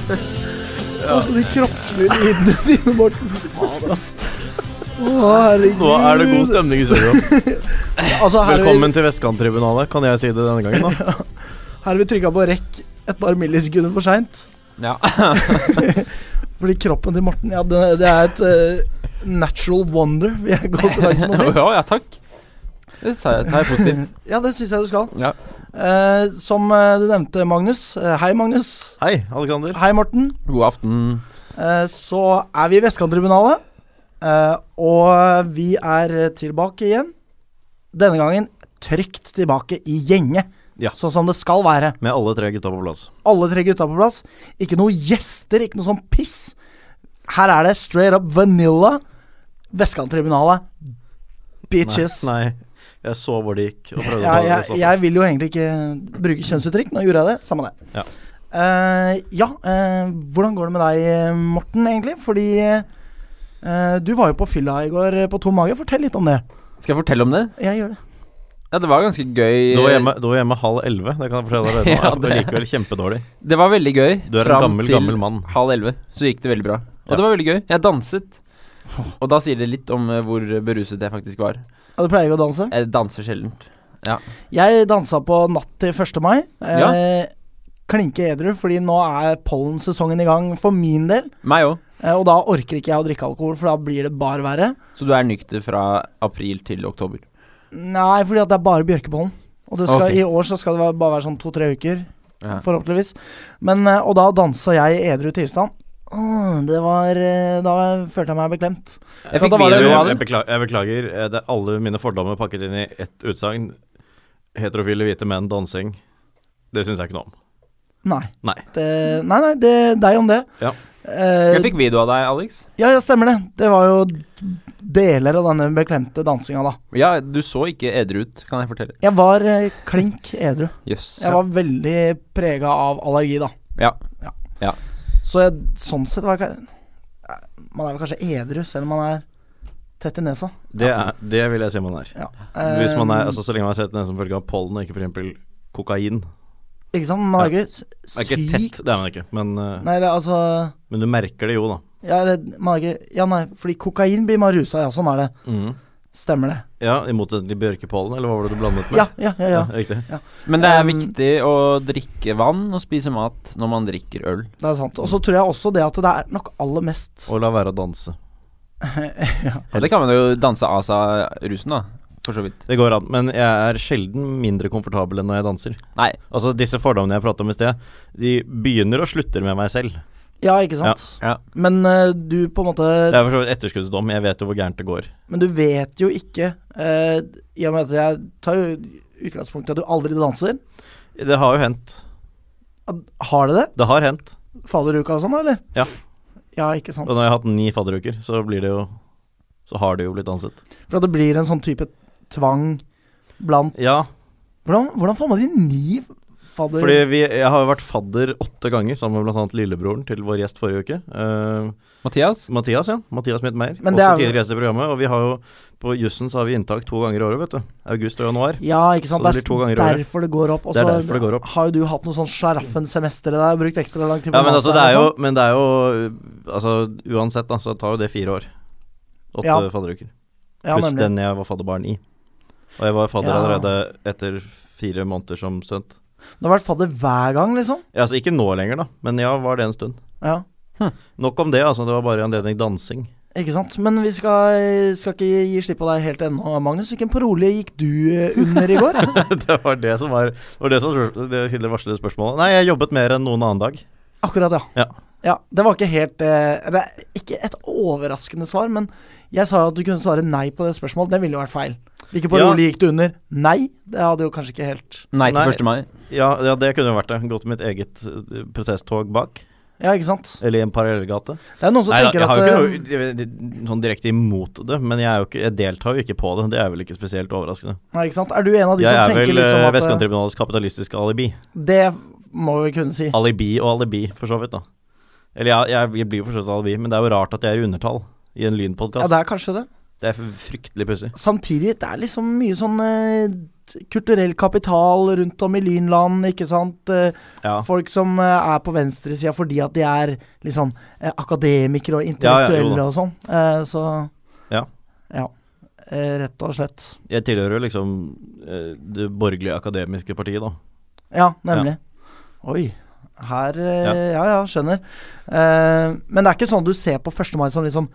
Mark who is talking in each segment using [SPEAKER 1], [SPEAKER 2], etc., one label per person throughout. [SPEAKER 1] Altså, de kroppslige lidene dine, Morten. Fy Fader, ass. Å, herregud.
[SPEAKER 2] Nå er det god stemning i studio.
[SPEAKER 1] Altså, her er vi,
[SPEAKER 2] Velkommen til Vestkanttribunalet, kan jeg si det denne gangen, da.
[SPEAKER 1] her er vi trykka på rekk et par millisekunder for seint.
[SPEAKER 3] Ja.
[SPEAKER 1] Fordi kroppen til Morten, ja, det, det er et eh, natural wonder, vil jeg gå til verks med å si.
[SPEAKER 3] ja, ja, takk. Det tar jeg, tar jeg positivt.
[SPEAKER 1] Ja, det syns jeg du skal.
[SPEAKER 3] Ja.
[SPEAKER 1] Eh, som eh, du nevnte, Magnus. Eh, hei, Magnus.
[SPEAKER 2] Hei, Alexander.
[SPEAKER 1] Hei, Morten.
[SPEAKER 3] God aften.
[SPEAKER 1] Eh, så er vi i Vestkanttribunalet, eh, og vi er tilbake igjen. Denne gangen trygt tilbake i gjenge,
[SPEAKER 2] Ja.
[SPEAKER 1] sånn som det skal være.
[SPEAKER 2] Med alle tre gutta på plass.
[SPEAKER 1] Alle tre gutta på plass. Ikke noe gjester, ikke noe sånn piss. Her er det straight up vanilla Vestkanttribunalet. Bitches.
[SPEAKER 2] Nei, nei, jeg så hvor det gikk, og prøvde
[SPEAKER 1] Ja,
[SPEAKER 2] å ta det sånn.
[SPEAKER 1] jeg, jeg vil jo egentlig ikke bruke kjønnsuttrykk. Nå gjorde jeg det. Samme det.
[SPEAKER 2] Ja.
[SPEAKER 1] Eh, ja eh, hvordan går det med deg, Morten, egentlig? Fordi eh, du var jo på fylla i går eh, på tom mage. Fortell litt om det.
[SPEAKER 3] Skal jeg fortelle om det?
[SPEAKER 1] Jeg gjør det.
[SPEAKER 3] Ja, det var ganske gøy.
[SPEAKER 2] Du var, hjemme, du var hjemme halv elleve, det kan jeg fortelle deg nå.
[SPEAKER 3] Ja,
[SPEAKER 2] Jeg var
[SPEAKER 3] det-
[SPEAKER 2] likevel kjempedårlig.
[SPEAKER 3] Det var veldig gøy.
[SPEAKER 2] Du er en
[SPEAKER 3] Fram
[SPEAKER 2] gammel,
[SPEAKER 3] til
[SPEAKER 2] gammel mann.
[SPEAKER 3] halv elleve, så gikk det veldig bra. Og
[SPEAKER 2] Ja.
[SPEAKER 3] det var veldig gøy. Jeg danset. Og da sier det litt om eh, hvor beruset jeg faktisk var.
[SPEAKER 1] Ja, du pleier å danse?
[SPEAKER 3] Jeg danser sjelden.
[SPEAKER 1] Jeg dansa på natt til 1. mai. Eh, Klinke edru, fordi nå er pollensesongen i gang for min del.
[SPEAKER 3] Meg òg.
[SPEAKER 1] Eh, og da orker ikke jeg å drikke alkohol, for da blir det bare verre.
[SPEAKER 3] Så du er nykter fra april til oktober.
[SPEAKER 1] Nei, fordi at det er bare bjørkepollen. Og det skal,
[SPEAKER 3] Ok.
[SPEAKER 1] i år så skal det være- bare være sånn to-tre uker.
[SPEAKER 3] Ja.
[SPEAKER 1] Forhåpentligvis. Men, eh, og da dansa jeg i edru tilstand. Åh, Det var eh, Da følte jeg meg beklemt.
[SPEAKER 3] Jeg
[SPEAKER 1] Ja,
[SPEAKER 3] fikk
[SPEAKER 1] da var det-
[SPEAKER 3] video
[SPEAKER 2] jeg,
[SPEAKER 3] av
[SPEAKER 2] jeg,
[SPEAKER 3] det.
[SPEAKER 2] beklager, jeg beklager. eh, Det er alle mine fordommer pakket inn i ett utsagn. Heterofile hvite menn, dansing. Det syns jeg ikke noe om.
[SPEAKER 1] Nei.
[SPEAKER 2] Nei.
[SPEAKER 1] Det, nei, nei, det deg om det.
[SPEAKER 2] Ja.
[SPEAKER 1] Eh,
[SPEAKER 3] Jeg fikk video av deg, Alex.
[SPEAKER 1] ja, ja, stemmer det. Det var jo deler av denne beklemte dansinga, da.
[SPEAKER 3] Ja, du så ikke edru ut, kan jeg fortelle.
[SPEAKER 1] Jeg var eh, klink edru.
[SPEAKER 3] Jøss.
[SPEAKER 1] Jeg var veldig prega av allergi, da.
[SPEAKER 3] Ja.
[SPEAKER 1] Så jeg, sånn sett var jeg ka- eh, Man er vel kanskje edru selv om man er tett i nesa.
[SPEAKER 2] Det, er, det vil jeg si man er.
[SPEAKER 1] Ja.
[SPEAKER 2] Hvis man
[SPEAKER 1] Eh,
[SPEAKER 2] er altså, så lenge man er tett, den som følge av pollen, og ikke f.eks. kokain.
[SPEAKER 1] Ikke sant? Man er
[SPEAKER 2] Ja.
[SPEAKER 1] ikke s-
[SPEAKER 2] Det er ikke
[SPEAKER 1] syk
[SPEAKER 2] tett, det er man ikke, men, eh,
[SPEAKER 1] Nei, eller altså
[SPEAKER 2] men du merker det jo, da.
[SPEAKER 1] Ja, eller, man er ikke, ja, nei, fordi kokain blir man rusa, ja, sånn er det.
[SPEAKER 3] Mm.
[SPEAKER 2] Mhm.
[SPEAKER 1] Stemmer det.
[SPEAKER 2] Ja, I motsetning til bjørkepollen, eller hva var det du blandet med?
[SPEAKER 1] Ja, ja, ja. ja.
[SPEAKER 2] riktig.
[SPEAKER 3] Men det er
[SPEAKER 1] Um,
[SPEAKER 3] viktig å drikke vann og spise mat når man drikker øl.
[SPEAKER 1] Det er sant. Og så tror jeg også det at det er nok aller mest
[SPEAKER 2] Og la være å danse.
[SPEAKER 3] Og det kan man jo danse av seg rusen, da. For så vidt.
[SPEAKER 2] Det går an, men jeg er sjelden mindre komfortabel enn når jeg danser.
[SPEAKER 3] Nei.
[SPEAKER 2] Altså Disse fordommene jeg pratet om i sted, de begynner og slutter med meg selv.
[SPEAKER 1] Ja, ikke sant?
[SPEAKER 3] Ja. Ja.
[SPEAKER 1] Men eh, du på en
[SPEAKER 2] Det
[SPEAKER 1] måte
[SPEAKER 2] er for så vidt etterskuddsdom, jeg vet jo hvor gærent det går.
[SPEAKER 1] Men du vet jo ikke eh, I og med at jeg tar jo utgangspunkt i at du aldri danser.
[SPEAKER 2] Det har jo hendt.
[SPEAKER 1] At- Har det det?
[SPEAKER 2] Det har hendt.
[SPEAKER 1] Fadderuka og sånn, eller?
[SPEAKER 2] Ja.
[SPEAKER 1] Ja, ikke sant.
[SPEAKER 2] Og når jeg har hatt ni fadderuker, så blir det jo Så har det jo blitt danset.
[SPEAKER 1] For at det blir en sånn type tvang blant
[SPEAKER 2] Ja,
[SPEAKER 1] Hvordan, hvordan får man de ni fadder...
[SPEAKER 2] fordi vi, jeg har jo vært fadder åtte ganger sammen med bl.a. lillebroren til vår gjest forrige uke. Eh,
[SPEAKER 3] Mathias?
[SPEAKER 2] Mathias, ja. Mathias Midtmeier.
[SPEAKER 1] Men
[SPEAKER 2] Også
[SPEAKER 1] det er-
[SPEAKER 2] tidligere gjest i programmet. Og vi har jo på jussen så har vi inntak to ganger i året, vet du. August og januar.
[SPEAKER 1] Ja, ikke sant.
[SPEAKER 2] Så det
[SPEAKER 1] Det,
[SPEAKER 2] blir to ganger i
[SPEAKER 1] er
[SPEAKER 2] året.
[SPEAKER 1] derfor det går opp. Og
[SPEAKER 2] Det
[SPEAKER 1] så
[SPEAKER 2] er derfor det går opp.
[SPEAKER 1] har jo du hatt noe sånn Sharaffen-semester der, brukt ekstra lang tid på
[SPEAKER 2] Ja, men altså, det
[SPEAKER 1] masteren
[SPEAKER 2] er jo,
[SPEAKER 1] og sånn.
[SPEAKER 2] men det er jo uh, Altså, uansett, da, så tar jo det fire år. Åtte
[SPEAKER 1] Ja.
[SPEAKER 2] fadderuker.
[SPEAKER 1] ja,
[SPEAKER 2] Pluss
[SPEAKER 1] nemlig.
[SPEAKER 2] den jeg var fadderbarn i. Og jeg var fadder
[SPEAKER 1] Ja.
[SPEAKER 2] allerede etter fire måneder som student.
[SPEAKER 1] Du har vært fadder hver gang, liksom?
[SPEAKER 2] Ja, altså ikke nå lenger, da, men ja, var det en stund.
[SPEAKER 1] Ja.
[SPEAKER 2] Nok om det, altså. Det var bare i anledning dansing.
[SPEAKER 1] Ikke sant. Men vi skal, skal ikke gi slipp på deg helt ennå, Magnus. Hvilken parole gikk du eh, under i går?
[SPEAKER 2] det var det som var Det var det som det Hilde varslede spørsmålet. Nei, jeg jobbet mer enn noen annen dag.
[SPEAKER 1] Akkurat, ja.
[SPEAKER 2] Ja.
[SPEAKER 1] Det var ikke helt eh, Det er ikke et overraskende svar, men jeg sa jo at du kunne svare nei på det spørsmålet. Det ville jo vært feil. Hvilken parole gikk du under? Nei. Det hadde jo kanskje ikke helt
[SPEAKER 3] Nei til
[SPEAKER 2] Nei.
[SPEAKER 3] 1. mai.
[SPEAKER 2] Ja, ja, det kunne jo vært det. Gått mitt eget uh, protesttog bak.
[SPEAKER 1] Ja, ikke sant.
[SPEAKER 2] Eller i en parallellgate.
[SPEAKER 1] Det er noen som
[SPEAKER 2] Nei, da,
[SPEAKER 1] tenker
[SPEAKER 2] jeg har
[SPEAKER 1] at
[SPEAKER 2] jo
[SPEAKER 1] eh,
[SPEAKER 2] ikke noe jeg vet ikke, sånn direkte imot det, men jeg, er jo ikke, jeg deltar jo ikke på det. Det er vel ikke spesielt overraskende.
[SPEAKER 1] Nei, ikke sant. Er du en av de
[SPEAKER 2] Jeg
[SPEAKER 1] som
[SPEAKER 2] er
[SPEAKER 1] tenker
[SPEAKER 2] vel
[SPEAKER 1] liksom at
[SPEAKER 2] eh,
[SPEAKER 1] eh,
[SPEAKER 2] Vestkanttribunalets kapitalistiske alibi.
[SPEAKER 1] Det må vi kunne si.
[SPEAKER 2] Alibi og alibi, for så vidt, da. Eller jeg, jeg, jeg blir jo for så vidt alibi, men det er jo rart at jeg er i undertall i
[SPEAKER 1] Ja,
[SPEAKER 2] en
[SPEAKER 1] det
[SPEAKER 2] lynpodkast.
[SPEAKER 1] er kanskje det.
[SPEAKER 2] Det er fryktelig pussig.
[SPEAKER 1] Samtidig, det er liksom mye sånn eh, t- kulturell kapital rundt om i lynland, ikke sant. Eh,
[SPEAKER 2] Ja.
[SPEAKER 1] Folk som eh, er på venstresida fordi at de er liksom eh, akademikere og
[SPEAKER 2] Ja, ja, jo
[SPEAKER 1] intellektuelle
[SPEAKER 2] da.
[SPEAKER 1] og sånn. Eh, så
[SPEAKER 2] Ja.
[SPEAKER 1] ja. Eh, rett og slett.
[SPEAKER 2] Jeg tilhører jo liksom eh, det borgerlige akademiske partiet, da.
[SPEAKER 1] Ja, nemlig. Oi. Her eh,
[SPEAKER 2] Ja.
[SPEAKER 1] Ja, ja, skjønner. Eh, men det er ikke sånn du ser på 1. mai som liksom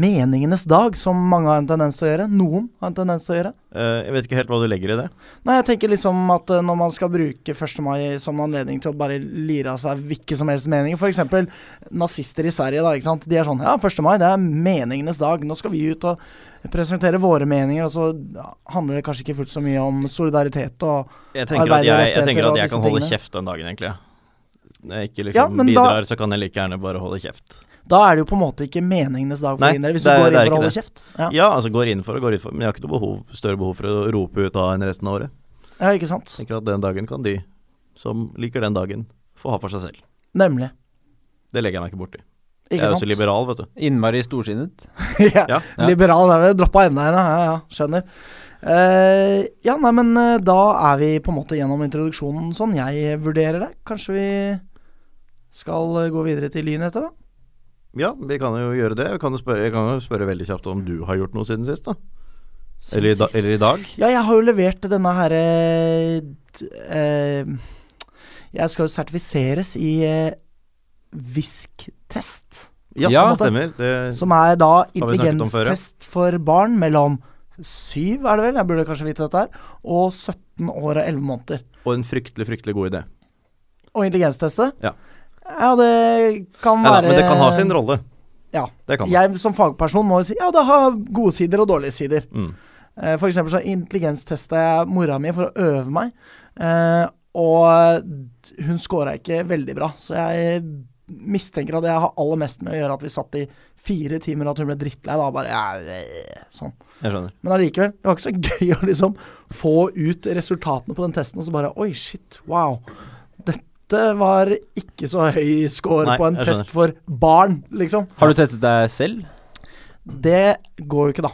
[SPEAKER 1] meningenes dag, som mange har en tendens til å gjøre. Noen har en tendens til å gjøre.
[SPEAKER 2] Eh, jeg vet ikke helt hva du legger i det.
[SPEAKER 1] Nei, jeg tenker liksom at eh, når man skal bruke 1. mai som en anledning til å bare lire av seg hvilke som helst meninger, f.eks. nazister i Sverige, da, ikke sant. De er sånn Ja, 1. mai, det er meningenes dag. Nå skal vi ut og presentere våre meninger, og så ja, handler det kanskje ikke fullt så mye om solidaritet og
[SPEAKER 2] Jeg tenker at jeg, jeg,
[SPEAKER 1] Arbeiderrettigheter
[SPEAKER 2] tenker
[SPEAKER 1] og
[SPEAKER 2] at jeg
[SPEAKER 1] disse
[SPEAKER 2] kan holde
[SPEAKER 1] tingene.
[SPEAKER 2] kjeft den dagen, egentlig. Når jeg ikke
[SPEAKER 1] Ja,
[SPEAKER 2] liksom
[SPEAKER 1] men da-
[SPEAKER 2] bidrar, så kan jeg like gjerne bare holde kjeft.
[SPEAKER 1] Da er det jo på en måte ikke meningenes dag for
[SPEAKER 2] Nei,
[SPEAKER 1] din del, hvis
[SPEAKER 2] det
[SPEAKER 1] du går
[SPEAKER 2] er- det er
[SPEAKER 1] inn for å
[SPEAKER 2] ikke
[SPEAKER 1] holde
[SPEAKER 2] det.
[SPEAKER 1] kjeft. Ja.
[SPEAKER 2] Ja, altså går inn for og går inn for, men jeg har ikke noe behov, større behov for å rope ut av enn resten av året.
[SPEAKER 1] ja, ikke sant.
[SPEAKER 2] Jeg tenker at den dagen kan de som liker den dagen, få ha for seg selv.
[SPEAKER 1] Nemlig.
[SPEAKER 2] Det legger jeg meg ikke borti. Jeg
[SPEAKER 1] Ikke
[SPEAKER 2] er jo
[SPEAKER 1] sant?
[SPEAKER 2] så liberal, vet du.
[SPEAKER 3] Innmari storsinnet.
[SPEAKER 1] ja.
[SPEAKER 2] Ja.
[SPEAKER 3] Ja.
[SPEAKER 1] Liberal er vel droppa enda en, ja, ja, ja. Skjønner. Eh, ja, nei, men eh, da er vi på en måte gjennom introduksjonen sånn jeg vurderer det. Kanskje vi skal eh, gå videre til Lyn etter, da?
[SPEAKER 2] ja, vi kan jo gjøre det. Jeg kan jo spørre, jeg kan jo spørre veldig kjapt om du har gjort noe siden sist, da. Eller i,
[SPEAKER 1] Siden
[SPEAKER 2] da,
[SPEAKER 1] sist.
[SPEAKER 2] eller i dag.
[SPEAKER 1] Ja, jeg har jo levert denne her eh, d- eh, Jeg skal jo sertifiseres i eh, VISK-test.
[SPEAKER 2] Ja,
[SPEAKER 3] Ja.
[SPEAKER 2] det stemmer. Det,
[SPEAKER 1] Som er da
[SPEAKER 2] vi snakket om før, ja.
[SPEAKER 1] intelligenstest for barn mellom 7, er det vel, jeg burde kanskje vite dette her, og 17 år og 11 måneder.
[SPEAKER 2] og en fryktelig, fryktelig god idé.
[SPEAKER 1] Og intelligensteste?
[SPEAKER 2] Ja.
[SPEAKER 1] Ja, det kan
[SPEAKER 2] Nei da,
[SPEAKER 1] være
[SPEAKER 2] men det kan ha sin rolle.
[SPEAKER 1] Ja.
[SPEAKER 2] Det kan det.
[SPEAKER 1] Jeg som fagperson må jo si ja, det har gode sider og dårlige sider.
[SPEAKER 2] Mm.
[SPEAKER 1] Eh, For eksempel så intelligenstesta jeg mora mi for å øve meg, eh, og d- hun scora ikke veldig bra. Så jeg mistenker at jeg har aller mest med å gjøre at vi satt i fire timer, og at hun ble drittlei da. Bare ja, eh, sånn.
[SPEAKER 2] Jeg skjønner.
[SPEAKER 1] Men allikevel, det var ikke så gøy å liksom få ut resultatene på den testen, og så bare Oi, shit, wow. Dette var ikke så høy score
[SPEAKER 2] Nei,
[SPEAKER 1] på en
[SPEAKER 2] jeg
[SPEAKER 1] test for barn, liksom.
[SPEAKER 3] Har du testet deg selv?
[SPEAKER 1] Det går jo ikke, da.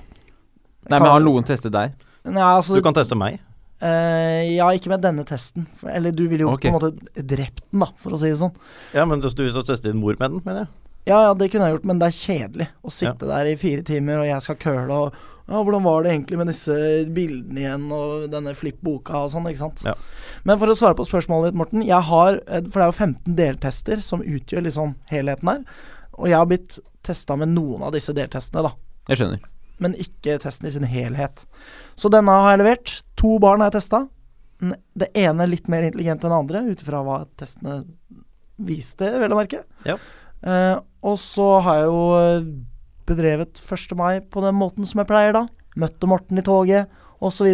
[SPEAKER 3] Nei,
[SPEAKER 1] Kan-
[SPEAKER 3] men har noen testet deg?
[SPEAKER 1] Nei, altså
[SPEAKER 2] Du kan teste meg.
[SPEAKER 1] eh, Ja, ikke med denne testen. For- Eller du ville jo
[SPEAKER 3] Ok.
[SPEAKER 1] på en måte drept den, da, for å si det sånn.
[SPEAKER 2] Ja, men hvis du hvis du tester din mor med den, mener jeg.
[SPEAKER 1] Ja, ja, det kunne jeg gjort, men det er kjedelig å sitte der i fire timer, og jeg skal curle og ja, 'Hvordan var det egentlig med disse bildene igjen, og denne flipp-boka og sånn?' ikke sant?
[SPEAKER 2] Ja.
[SPEAKER 1] Men for å svare på spørsmålet ditt, Morten. jeg har, eh, For det er jo 15 deltester som utgjør liksom helheten her. Og jeg har blitt testa med noen av disse deltestene, da.
[SPEAKER 3] Jeg skjønner.
[SPEAKER 1] Men ikke testen i sin helhet. Så denne har jeg levert. To barn har jeg testa. Det ene litt mer intelligent enn det andre, ut ifra hva testene viste, vel å merke.
[SPEAKER 2] Ja.
[SPEAKER 1] Eh, og så har jeg jo eh, bedrevet 1. mai på den måten som jeg pleier, da. Møtte Morten i toget, osv.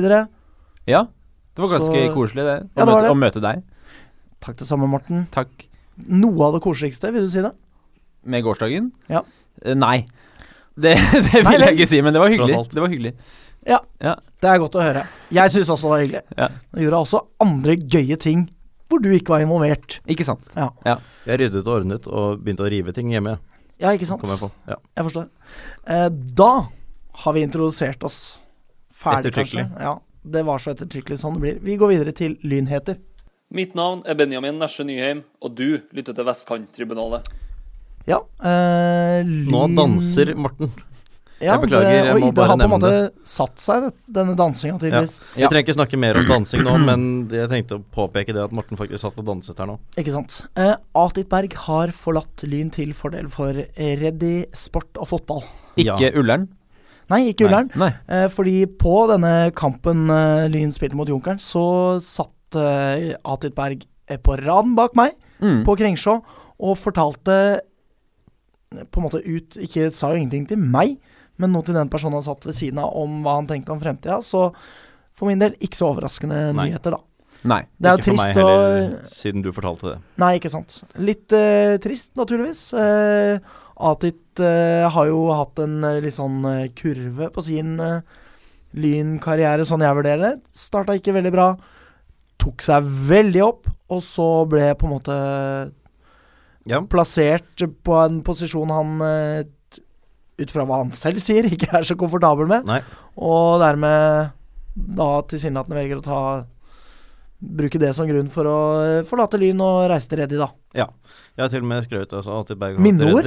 [SPEAKER 3] Ja. Det var ganske
[SPEAKER 1] Så-
[SPEAKER 3] koselig, det. Å,
[SPEAKER 1] Ja, det var
[SPEAKER 3] møte,
[SPEAKER 1] det.
[SPEAKER 3] å møte deg.
[SPEAKER 1] Takk det samme, Morten.
[SPEAKER 3] Takk.
[SPEAKER 1] Noe av det koseligste, vil du si det?
[SPEAKER 3] Med gårsdagen?
[SPEAKER 1] Ja.
[SPEAKER 3] Eh, Nei. Det, det
[SPEAKER 1] Nei,
[SPEAKER 3] vil
[SPEAKER 1] vel.
[SPEAKER 3] jeg ikke si, men det var hyggelig.
[SPEAKER 2] alt.
[SPEAKER 3] Det var hyggelig.
[SPEAKER 1] Det er godt å høre. Jeg syns også det var hyggelig.
[SPEAKER 3] Ja.
[SPEAKER 1] Og gjorde også andre gøye ting hvor du ikke var involvert.
[SPEAKER 3] Ikke sant.
[SPEAKER 2] Jeg ryddet og ordnet og begynte å rive ting hjemme.
[SPEAKER 1] Ja, ikke sant?
[SPEAKER 2] Kom jeg på. Ja.
[SPEAKER 1] Jeg forstår. Eh, da har vi introdusert oss. Ferdig, kanskje.
[SPEAKER 2] Ettertrykkelig.
[SPEAKER 1] Ja, det var så ettertrykkelig sånn det blir. Vi går videre til lynheter.
[SPEAKER 4] Mitt navn er Benjamin Nesje Nyheim, og du lytter til Vestkanttribunalet.
[SPEAKER 1] Ja, eh, lyn...
[SPEAKER 2] Nå danser Morten.
[SPEAKER 1] Ja,
[SPEAKER 2] Jeg beklager,
[SPEAKER 1] det-
[SPEAKER 2] jeg
[SPEAKER 1] og
[SPEAKER 2] må
[SPEAKER 1] Ida har
[SPEAKER 2] bare
[SPEAKER 1] på en
[SPEAKER 2] nevne
[SPEAKER 1] måte satt seg, det- denne dansinga, tydeligvis.
[SPEAKER 2] Vi
[SPEAKER 3] Ja.
[SPEAKER 2] trenger ikke snakke mer om dansing nå, men jeg tenkte å påpeke det at Morten faktisk satt og danset her nå.
[SPEAKER 1] Ikke sant. Eh, Atit Berg har forlatt Lyn til fordel for Reddy, sport og fotball.
[SPEAKER 2] Ja.
[SPEAKER 3] Ikke Ullern.
[SPEAKER 1] Nei, ikke Ullern.
[SPEAKER 3] Nei.
[SPEAKER 1] Eh, fordi på denne kampen eh, Lyn spilte mot Junkeren, så satt eh, Atit Berg eh, på raden bak meg.
[SPEAKER 3] Mm.
[SPEAKER 1] på Krengsjå og fortalte på en måte ut Ikke sa jo ingenting til meg, men noe til den personen han satt ved siden av om hva han tenkte om fremtida. Så for min del ikke så overraskende
[SPEAKER 2] Nei.
[SPEAKER 1] nyheter, da.
[SPEAKER 3] Nei.
[SPEAKER 1] Det er jo
[SPEAKER 2] ikke for meg
[SPEAKER 1] trist å
[SPEAKER 2] heller, siden du fortalte det.
[SPEAKER 1] Nei, ikke sant. Litt eh, trist, naturligvis. Eh, Atit eh, har jo hatt en eh, litt sånn eh, kurve på sin eh, lynkarriere, sånn jeg vurderer det. Starta ikke veldig bra, tok seg veldig opp, og så ble på en måte
[SPEAKER 2] Ja.
[SPEAKER 1] plassert på en posisjon han eh, t- ut fra hva han selv sier, ikke er så komfortabel med.
[SPEAKER 2] Nei.
[SPEAKER 1] Og dermed da tilsynelatende velger å ta Bruke det som grunn for å eh, forlate Lyn og reise til Reddy, da.
[SPEAKER 2] Jeg har til og med skrevet altså, til Berg
[SPEAKER 1] Minneord?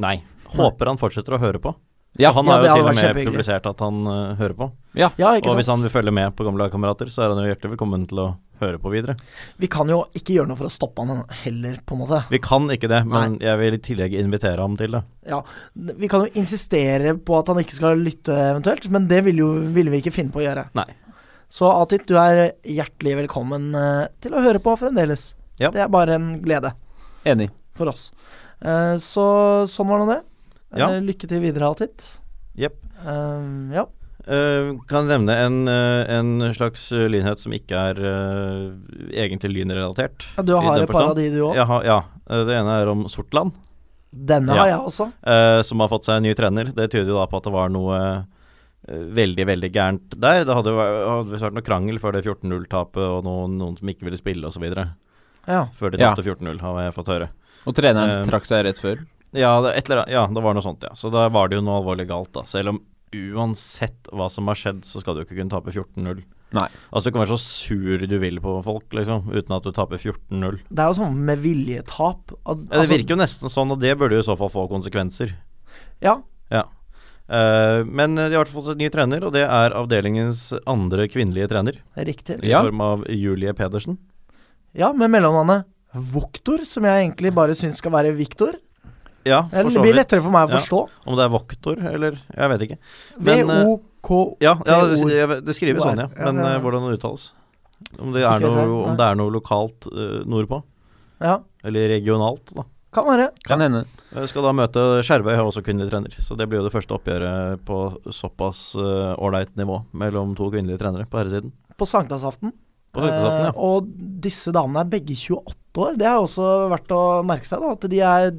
[SPEAKER 2] Nei. Håper han fortsetter å høre på.
[SPEAKER 3] Ja,
[SPEAKER 2] Og han
[SPEAKER 1] ja,
[SPEAKER 2] har
[SPEAKER 1] det
[SPEAKER 2] jo
[SPEAKER 1] hadde
[SPEAKER 2] til og
[SPEAKER 1] vært
[SPEAKER 2] med
[SPEAKER 1] kjempehyggelig.
[SPEAKER 2] publisert at han eh, hører på.
[SPEAKER 1] Ja, ikke
[SPEAKER 2] Og hvis han
[SPEAKER 1] sant?
[SPEAKER 2] vil følge med på Gamle lagkamerater, så er han jo hjertelig velkommen til å høre på videre.
[SPEAKER 1] Vi kan jo ikke gjøre noe for å stoppe han heller, på en måte.
[SPEAKER 2] Vi kan ikke det, men jeg vil i tillegg invitere ham til det.
[SPEAKER 1] Ja, Vi kan jo insistere på at han ikke skal lytte eventuelt, men det ville, jo, ville vi ikke finne på å gjøre.
[SPEAKER 2] Nei.
[SPEAKER 1] Så Atit, du er hjertelig velkommen eh, til å høre på fremdeles.
[SPEAKER 2] Ja.
[SPEAKER 1] Det er bare en glede
[SPEAKER 3] Enig.
[SPEAKER 1] for oss. Eh, Så sånn var nå det. Eh,
[SPEAKER 2] Ja.
[SPEAKER 1] Lykke til videre, Atit.
[SPEAKER 2] Jepp.
[SPEAKER 1] Eh, ja.
[SPEAKER 2] Eh, kan nevne en, eh, en slags eh, lynhet som ikke er eh, egentlig lynrelatert.
[SPEAKER 1] Du
[SPEAKER 2] I
[SPEAKER 1] har
[SPEAKER 2] den
[SPEAKER 1] et par av
[SPEAKER 2] forstand.
[SPEAKER 1] de, du òg.
[SPEAKER 2] Jeg har- Ja. eh, Det ene er om Sortland,
[SPEAKER 1] Denne
[SPEAKER 2] Ja.
[SPEAKER 1] har jeg også.
[SPEAKER 2] eh, som har fått seg en ny trener. Det tyder jo da på at det var noe eh, veldig, veldig gærent der. Det hadde jo vært- hadde visst vært noe krangel før det 14-0-tapet og noen, noen som ikke ville spille osv.
[SPEAKER 1] Ja.
[SPEAKER 2] Før de
[SPEAKER 3] Ja.
[SPEAKER 2] tapte 14-0, har jeg fått høre.
[SPEAKER 3] Og treneren
[SPEAKER 2] Eh,
[SPEAKER 3] trakk seg rett før.
[SPEAKER 2] Ja det, et eller annet, ja, det var noe sånt, ja. Så da var det jo noe alvorlig galt, da. Selv om uansett hva som har skjedd, så skal du ikke kunne tape 14-0.
[SPEAKER 3] Nei.
[SPEAKER 2] Altså, du kan være så sur du vil på folk, liksom, uten at du taper 14-0.
[SPEAKER 1] Det er jo sånn med viljetap at-
[SPEAKER 2] Ja, det
[SPEAKER 1] altså-
[SPEAKER 2] virker jo nesten sånn, og det burde jo i så fall få konsekvenser.
[SPEAKER 1] Ja.
[SPEAKER 2] Eh, men de har fått en ny trener, og det er avdelingens andre kvinnelige trener.
[SPEAKER 1] Riktig.
[SPEAKER 2] I
[SPEAKER 3] Ja.
[SPEAKER 2] form av Julie Pedersen.
[SPEAKER 1] Ja, med mellomnavnet Voktor, som jeg egentlig bare syns skal være Viktor.
[SPEAKER 2] Ja,
[SPEAKER 1] Det
[SPEAKER 2] for så
[SPEAKER 1] blir
[SPEAKER 2] vidt.
[SPEAKER 1] lettere for meg å
[SPEAKER 2] Ja.
[SPEAKER 1] forstå.
[SPEAKER 2] Om det er Voktor, eller Jeg vet ikke. Men, eh,
[SPEAKER 1] V-O-K
[SPEAKER 2] Ja, ja det,
[SPEAKER 1] Det
[SPEAKER 2] jeg vet- det skrives
[SPEAKER 1] ord.
[SPEAKER 2] sånn, ja.
[SPEAKER 1] Ja,
[SPEAKER 2] Men
[SPEAKER 1] det-
[SPEAKER 2] eh, hvordan det uttales? Om det
[SPEAKER 1] Ikke
[SPEAKER 2] er noe,
[SPEAKER 1] det, nei.
[SPEAKER 2] om det er noe lokalt eh, nordpå?
[SPEAKER 1] Ja,
[SPEAKER 2] Eller regionalt, da.
[SPEAKER 1] kan være.
[SPEAKER 3] Kan hende.
[SPEAKER 2] Jeg skal da møte Skjervøy, har også kvinnelig trener. Så det blir jo det første oppgjøret på såpass eh, ålreit nivå mellom to kvinnelige trenere på herresiden.
[SPEAKER 1] På sankthansaften.
[SPEAKER 2] På Søknesaften,
[SPEAKER 1] Eh, og disse damene er begge 28 år. Det er jo også verdt å merke seg, da. At de er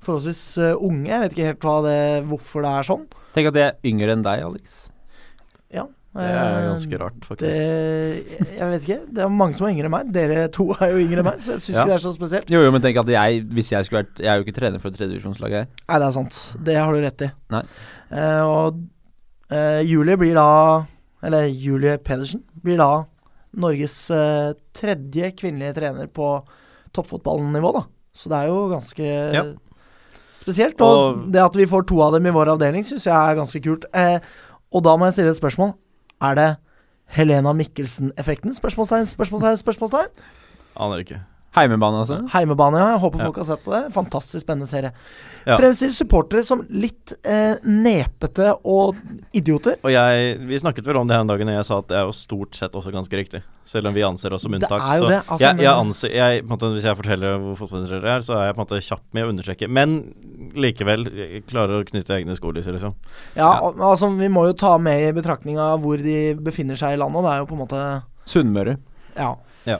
[SPEAKER 1] forholdsvis eh, unge. Jeg vet ikke helt hva det, hvorfor det er sånn.
[SPEAKER 3] Tenk at jeg er yngre enn deg, Alex.
[SPEAKER 1] Eh,
[SPEAKER 2] ja. Det er ganske rart,
[SPEAKER 1] Det,
[SPEAKER 2] faktisk.
[SPEAKER 1] jeg vet ikke. Det er mange som er yngre enn meg. Dere to er jo yngre enn meg, så jeg syns
[SPEAKER 2] Ja.
[SPEAKER 1] ikke det er så spesielt.
[SPEAKER 3] Jo, jo, men tenk at jeg, hvis jeg skulle vært Jeg er jo ikke trener for tredjedivisjonslaget her.
[SPEAKER 1] Nei, det er sant. Det har du rett i.
[SPEAKER 3] Nei.
[SPEAKER 1] Eh, og eh, Julie blir da Eller Julie Pedersen blir da Norges eh, tredje kvinnelige trener på toppfotballnivå, da. Så det er jo ganske
[SPEAKER 2] Ja.
[SPEAKER 1] spesielt. Og,
[SPEAKER 2] Og-
[SPEAKER 1] det at vi får to av dem i vår avdeling, syns jeg er ganske kult. Eh, og da må jeg stille et spørsmål. Er det Helena Mikkelsen-effekten? Spørsmålstegn, spørsmålstegn, spørsmålstegn.
[SPEAKER 2] Aner ikke.
[SPEAKER 3] Heimebane, altså.
[SPEAKER 1] Heimebane, ja. Jeg håper
[SPEAKER 2] Ja.
[SPEAKER 1] folk har sett på det. Fantastisk spennende serie.
[SPEAKER 2] Ja.
[SPEAKER 1] Fremstiller supportere som litt eh, nepete og idioter.
[SPEAKER 2] Og jeg, vi snakket vel om det her en dag når jeg sa at det er jo stort sett også ganske riktig. Selv om vi anser oss som
[SPEAKER 1] Det
[SPEAKER 2] unntak.
[SPEAKER 1] er jo
[SPEAKER 2] så
[SPEAKER 1] det, altså,
[SPEAKER 2] jeg, jeg
[SPEAKER 1] men-
[SPEAKER 2] anser, jeg, på en måte, hvis jeg forteller hvor fotballinteressert jeg er, så er jeg på en måte kjapp med å understreke. Men likevel jeg klarer å knytte egne skolisser, liksom.
[SPEAKER 1] Ja,
[SPEAKER 3] Ja.
[SPEAKER 1] og- altså Vi må jo ta med i betraktninga hvor de befinner seg i landet. Det er jo på en måte
[SPEAKER 3] Sunnmøre.
[SPEAKER 1] Ja.
[SPEAKER 2] Ja.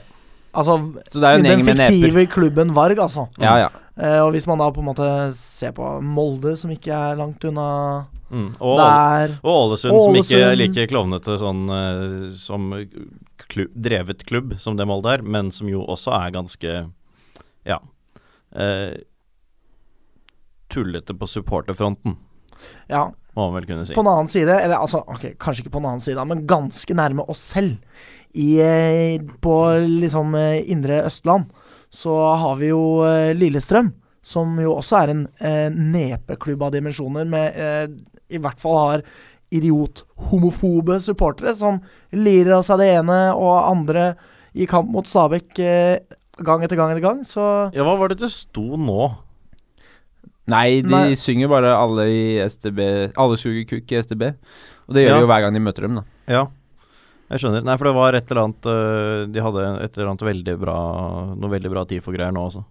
[SPEAKER 1] Altså
[SPEAKER 3] Så det er jo en
[SPEAKER 1] den
[SPEAKER 3] gjeng med neper.
[SPEAKER 1] fiktive klubben Varg, altså.
[SPEAKER 3] Ja, ja.
[SPEAKER 1] Eh, og hvis man da på en måte ser på Molde, som ikke er langt unna
[SPEAKER 2] Mm. Og
[SPEAKER 1] der
[SPEAKER 2] Og Ålesund, som ikke er
[SPEAKER 1] Ålesund.
[SPEAKER 2] like klovnete sånn eh, som klu- drevet klubb som det Molde er, men som jo også er ganske ja eh, tullete på supporterfronten,
[SPEAKER 1] Ja.
[SPEAKER 2] må man vel kunne si.
[SPEAKER 1] På en annen side, eller altså ok, kanskje ikke på en annen side, men ganske nærme oss selv. I, eh, på liksom eh, indre Østland så har vi jo eh, Lillestrøm, som jo også er en eh, nepeklubb av dimensjoner, med eh, i hvert fall har idiot-homofobe supportere som lirer av seg det ene og andre i kamp mot Stabæk eh, gang etter gang etter gang. Så
[SPEAKER 2] Ja, hva var det det sto nå?
[SPEAKER 3] Nei, de
[SPEAKER 1] Nei.
[SPEAKER 3] synger bare alle i STB Alle suger kukk i STB. Og det gjør
[SPEAKER 2] Ja.
[SPEAKER 3] de jo hver gang de møter dem, da.
[SPEAKER 2] Ja, jeg skjønner. Nei, for det var et eller annet eh, De hadde et eller annet veldig bra noe veldig bra TIFO-greier nå også.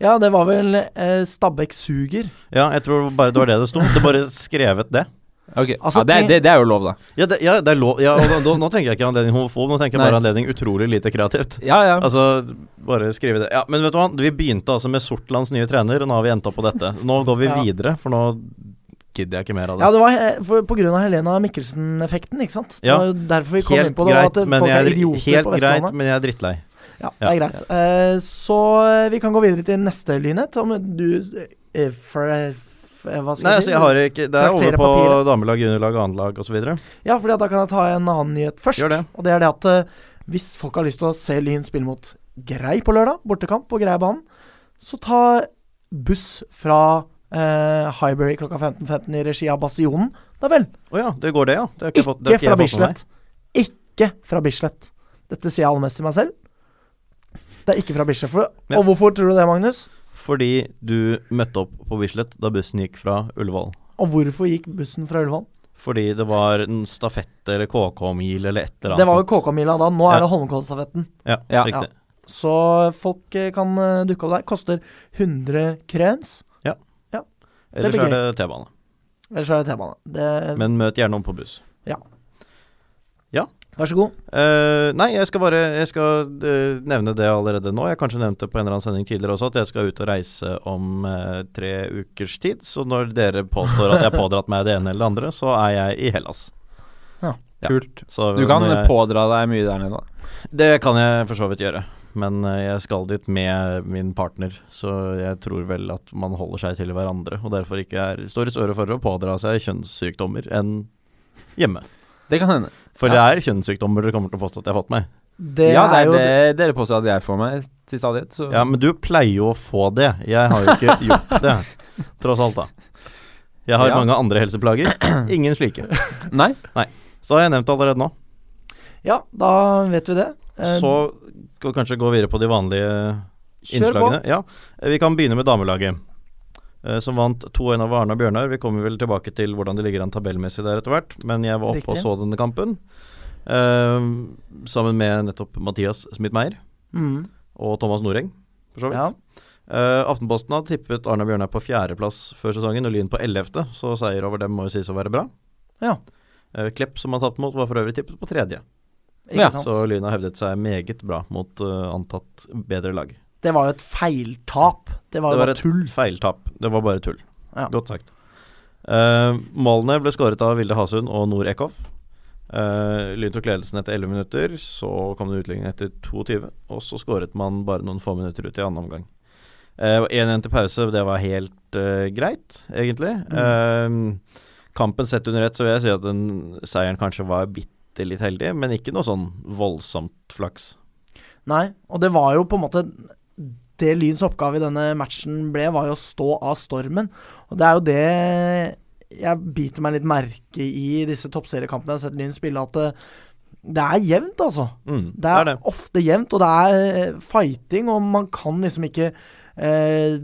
[SPEAKER 1] ja, det var vel eh, Stabæk suger.
[SPEAKER 2] Ja, jeg tror bare det var det det sto. Det bare skrevet det.
[SPEAKER 3] Ok,
[SPEAKER 1] Altså,
[SPEAKER 3] ja, det, er-
[SPEAKER 1] de-
[SPEAKER 3] det, det er jo lov, da.
[SPEAKER 2] Ja, det, ja, det er lov ja, og da, da, Nå tenker jeg ikke anledning homofob, nå tenker jeg bare
[SPEAKER 3] Nei.
[SPEAKER 2] anledning utrolig lite kreativt.
[SPEAKER 3] Ja, ja.
[SPEAKER 2] Altså, bare skrive det. Ja, men vet du hva, vi begynte altså med Sortlands nye trener, og nå har vi endt opp på dette. Nå går vi
[SPEAKER 1] Ja.
[SPEAKER 2] videre, for nå gidder jeg ikke mer av
[SPEAKER 1] Ja,
[SPEAKER 2] det.
[SPEAKER 1] det var he- for, på grunn av Helena Mikkelsen-effekten, ikke sant? Det
[SPEAKER 2] Ja.
[SPEAKER 1] var jo derfor vi kom inn
[SPEAKER 2] Helt
[SPEAKER 1] på det, var
[SPEAKER 2] greit,
[SPEAKER 1] at eh,
[SPEAKER 2] men
[SPEAKER 1] folk
[SPEAKER 2] jeg
[SPEAKER 1] er
[SPEAKER 2] er,
[SPEAKER 1] idioter
[SPEAKER 2] helt
[SPEAKER 1] på
[SPEAKER 2] greit,
[SPEAKER 1] Vestlandet.
[SPEAKER 2] men jeg er drittlei.
[SPEAKER 1] Ja, det er
[SPEAKER 2] Ja.
[SPEAKER 1] greit. Eh, så eh, vi kan gå videre til neste lynhet. Om du eh, fra- f- eh, Hva skal
[SPEAKER 2] Nei,
[SPEAKER 1] jeg
[SPEAKER 2] altså,
[SPEAKER 1] si?
[SPEAKER 2] jeg har ikke Det er
[SPEAKER 1] Karakterer
[SPEAKER 2] over
[SPEAKER 1] på
[SPEAKER 2] på
[SPEAKER 1] papiret.
[SPEAKER 2] damelag, juniorlag, annetlag osv.
[SPEAKER 1] Ja, fordi at da kan jeg ta en annen nyhet først.
[SPEAKER 2] Gjør det.
[SPEAKER 1] Og det er det at eh, hvis folk har lyst til å se Lyn spille mot Grei på lørdag, bortekamp på Greibanen, så ta buss fra eh, Highbury klokka 15.15 i regi av Bastionen. Da vel.
[SPEAKER 2] Å ja, det går det, ja. Det har
[SPEAKER 1] Ikke,
[SPEAKER 2] ikke, fått, det har ikke
[SPEAKER 1] fra
[SPEAKER 2] jeg fått med meg.
[SPEAKER 1] Bislett. Ikke fra Bislett. Dette sier jeg aller mest til meg selv. Det er ikke fra Bislett. For,
[SPEAKER 2] Ja.
[SPEAKER 1] Og hvorfor tror du det, Magnus?
[SPEAKER 2] Fordi du møtte opp på Bislett da bussen gikk fra Ullevål.
[SPEAKER 1] Og hvorfor gikk bussen fra Ullevål?
[SPEAKER 2] Fordi det var en stafett eller KK-mil eller et eller annet.
[SPEAKER 1] Det var jo
[SPEAKER 2] sånt.
[SPEAKER 1] KK-mila da. Nå
[SPEAKER 2] Ja.
[SPEAKER 1] er det Holmenkollstafetten.
[SPEAKER 2] Ja,
[SPEAKER 3] Ja.
[SPEAKER 2] riktig.
[SPEAKER 1] Så folk eh, kan eh, dukke opp der. Koster 100 krøns.
[SPEAKER 2] Ellers
[SPEAKER 1] blir
[SPEAKER 2] er det T-bane.
[SPEAKER 1] Ellers er det T-bane. Det-
[SPEAKER 2] Men møt gjerne om på buss.
[SPEAKER 1] Vær så god.
[SPEAKER 2] Eh, nei, jeg skal bare Jeg skal eh, nevne det allerede nå. Jeg kanskje nevnte på en eller annen sending tidligere også at jeg skal ut og reise om eh, tre ukers tid. Så når dere påstår at jeg har pådratt meg det ene eller det andre, så er jeg i Hellas. Ja.
[SPEAKER 3] Kult.
[SPEAKER 2] Så
[SPEAKER 3] Du kan
[SPEAKER 2] når jeg,
[SPEAKER 3] pådra deg mye der nede. da.
[SPEAKER 2] Det kan jeg for så vidt gjøre. Men eh, jeg skal dit med min partner, så jeg tror vel at man holder seg til hverandre. Og derfor ikke er, står i større for å pådra seg kjønnssykdommer enn hjemme.
[SPEAKER 3] Det kan hende.
[SPEAKER 2] For
[SPEAKER 3] Ja.
[SPEAKER 2] det er kjønnssykdommer dere kommer til å påstå at jeg har fått meg.
[SPEAKER 1] Det
[SPEAKER 3] ja, det
[SPEAKER 1] er jo
[SPEAKER 3] er det dere påstår at jeg får meg til stadighet. Så.
[SPEAKER 2] Ja, men du pleier jo å få det. Jeg har jo ikke gjort det, tross alt, da. Jeg har
[SPEAKER 3] Ja.
[SPEAKER 2] mange andre helseplager. Ingen slike.
[SPEAKER 3] Nei?
[SPEAKER 2] Så har jeg nevnt allerede nå.
[SPEAKER 1] Ja, da vet vi det. Eh,
[SPEAKER 2] Så skal vi kanskje gå videre på de vanlige
[SPEAKER 1] kjør på.
[SPEAKER 2] innslagene. Ja, eh, Vi kan begynne med damelaget, eh, som vant 2-1 over Arne og Bjørnar. Vi kommer vel tilbake til hvordan det ligger an tabellmessig der etter hvert, men jeg var oppe og
[SPEAKER 1] Riktig.
[SPEAKER 2] så denne kampen. eh, sammen med nettopp Mathias Smith-Meyer
[SPEAKER 1] Mm,
[SPEAKER 2] og Thomas Noreng, for så vidt.
[SPEAKER 1] ja.
[SPEAKER 2] Eh, Aftenposten hadde tippet Arne Bjørnar på fjerdeplass før sesongen og Lyn på ellevte, så seier over dem må jo sies å være bra.
[SPEAKER 1] Ja.
[SPEAKER 2] Eh, Klepp, som han tapt mot, var for øvrig tippet på tredje.
[SPEAKER 1] Ikke
[SPEAKER 3] Ja,
[SPEAKER 1] sant.
[SPEAKER 2] Så Lyn har hevdet seg meget bra mot eh, antatt bedre lag.
[SPEAKER 1] Det var jo et feiltap. Det var
[SPEAKER 2] Det
[SPEAKER 1] jo
[SPEAKER 2] var
[SPEAKER 1] bare
[SPEAKER 2] et
[SPEAKER 1] tull.
[SPEAKER 2] feiltap. Det var bare tull.
[SPEAKER 1] Ja.
[SPEAKER 2] Godt sagt. Eh, målene ble skåret av Vilde Hasund og Nord Eckhoff. Eh, Lyn tok ledelsen etter 11 minutter, så kom det utligning etter 22, og så skåret man bare noen få minutter ut i annen omgang. Eh, og 1-1 til pause, det var helt eh, greit, egentlig.
[SPEAKER 1] Mm.
[SPEAKER 2] Eh, kampen sett under ett, så vil jeg si at den seieren kanskje var bitte litt heldig, men ikke noe sånn voldsomt flaks.
[SPEAKER 1] Nei, og det var jo på en måte Det Lyns oppgave i denne matchen ble, var jo å stå av stormen. Og det er jo det jeg biter meg litt merke i i disse toppseriekampene jeg har sett Lyn spille, at det, det er jevnt, altså.
[SPEAKER 2] Mm,
[SPEAKER 1] Det er, ofte jevnt, og det er eh, fighting, og man kan liksom ikke eh,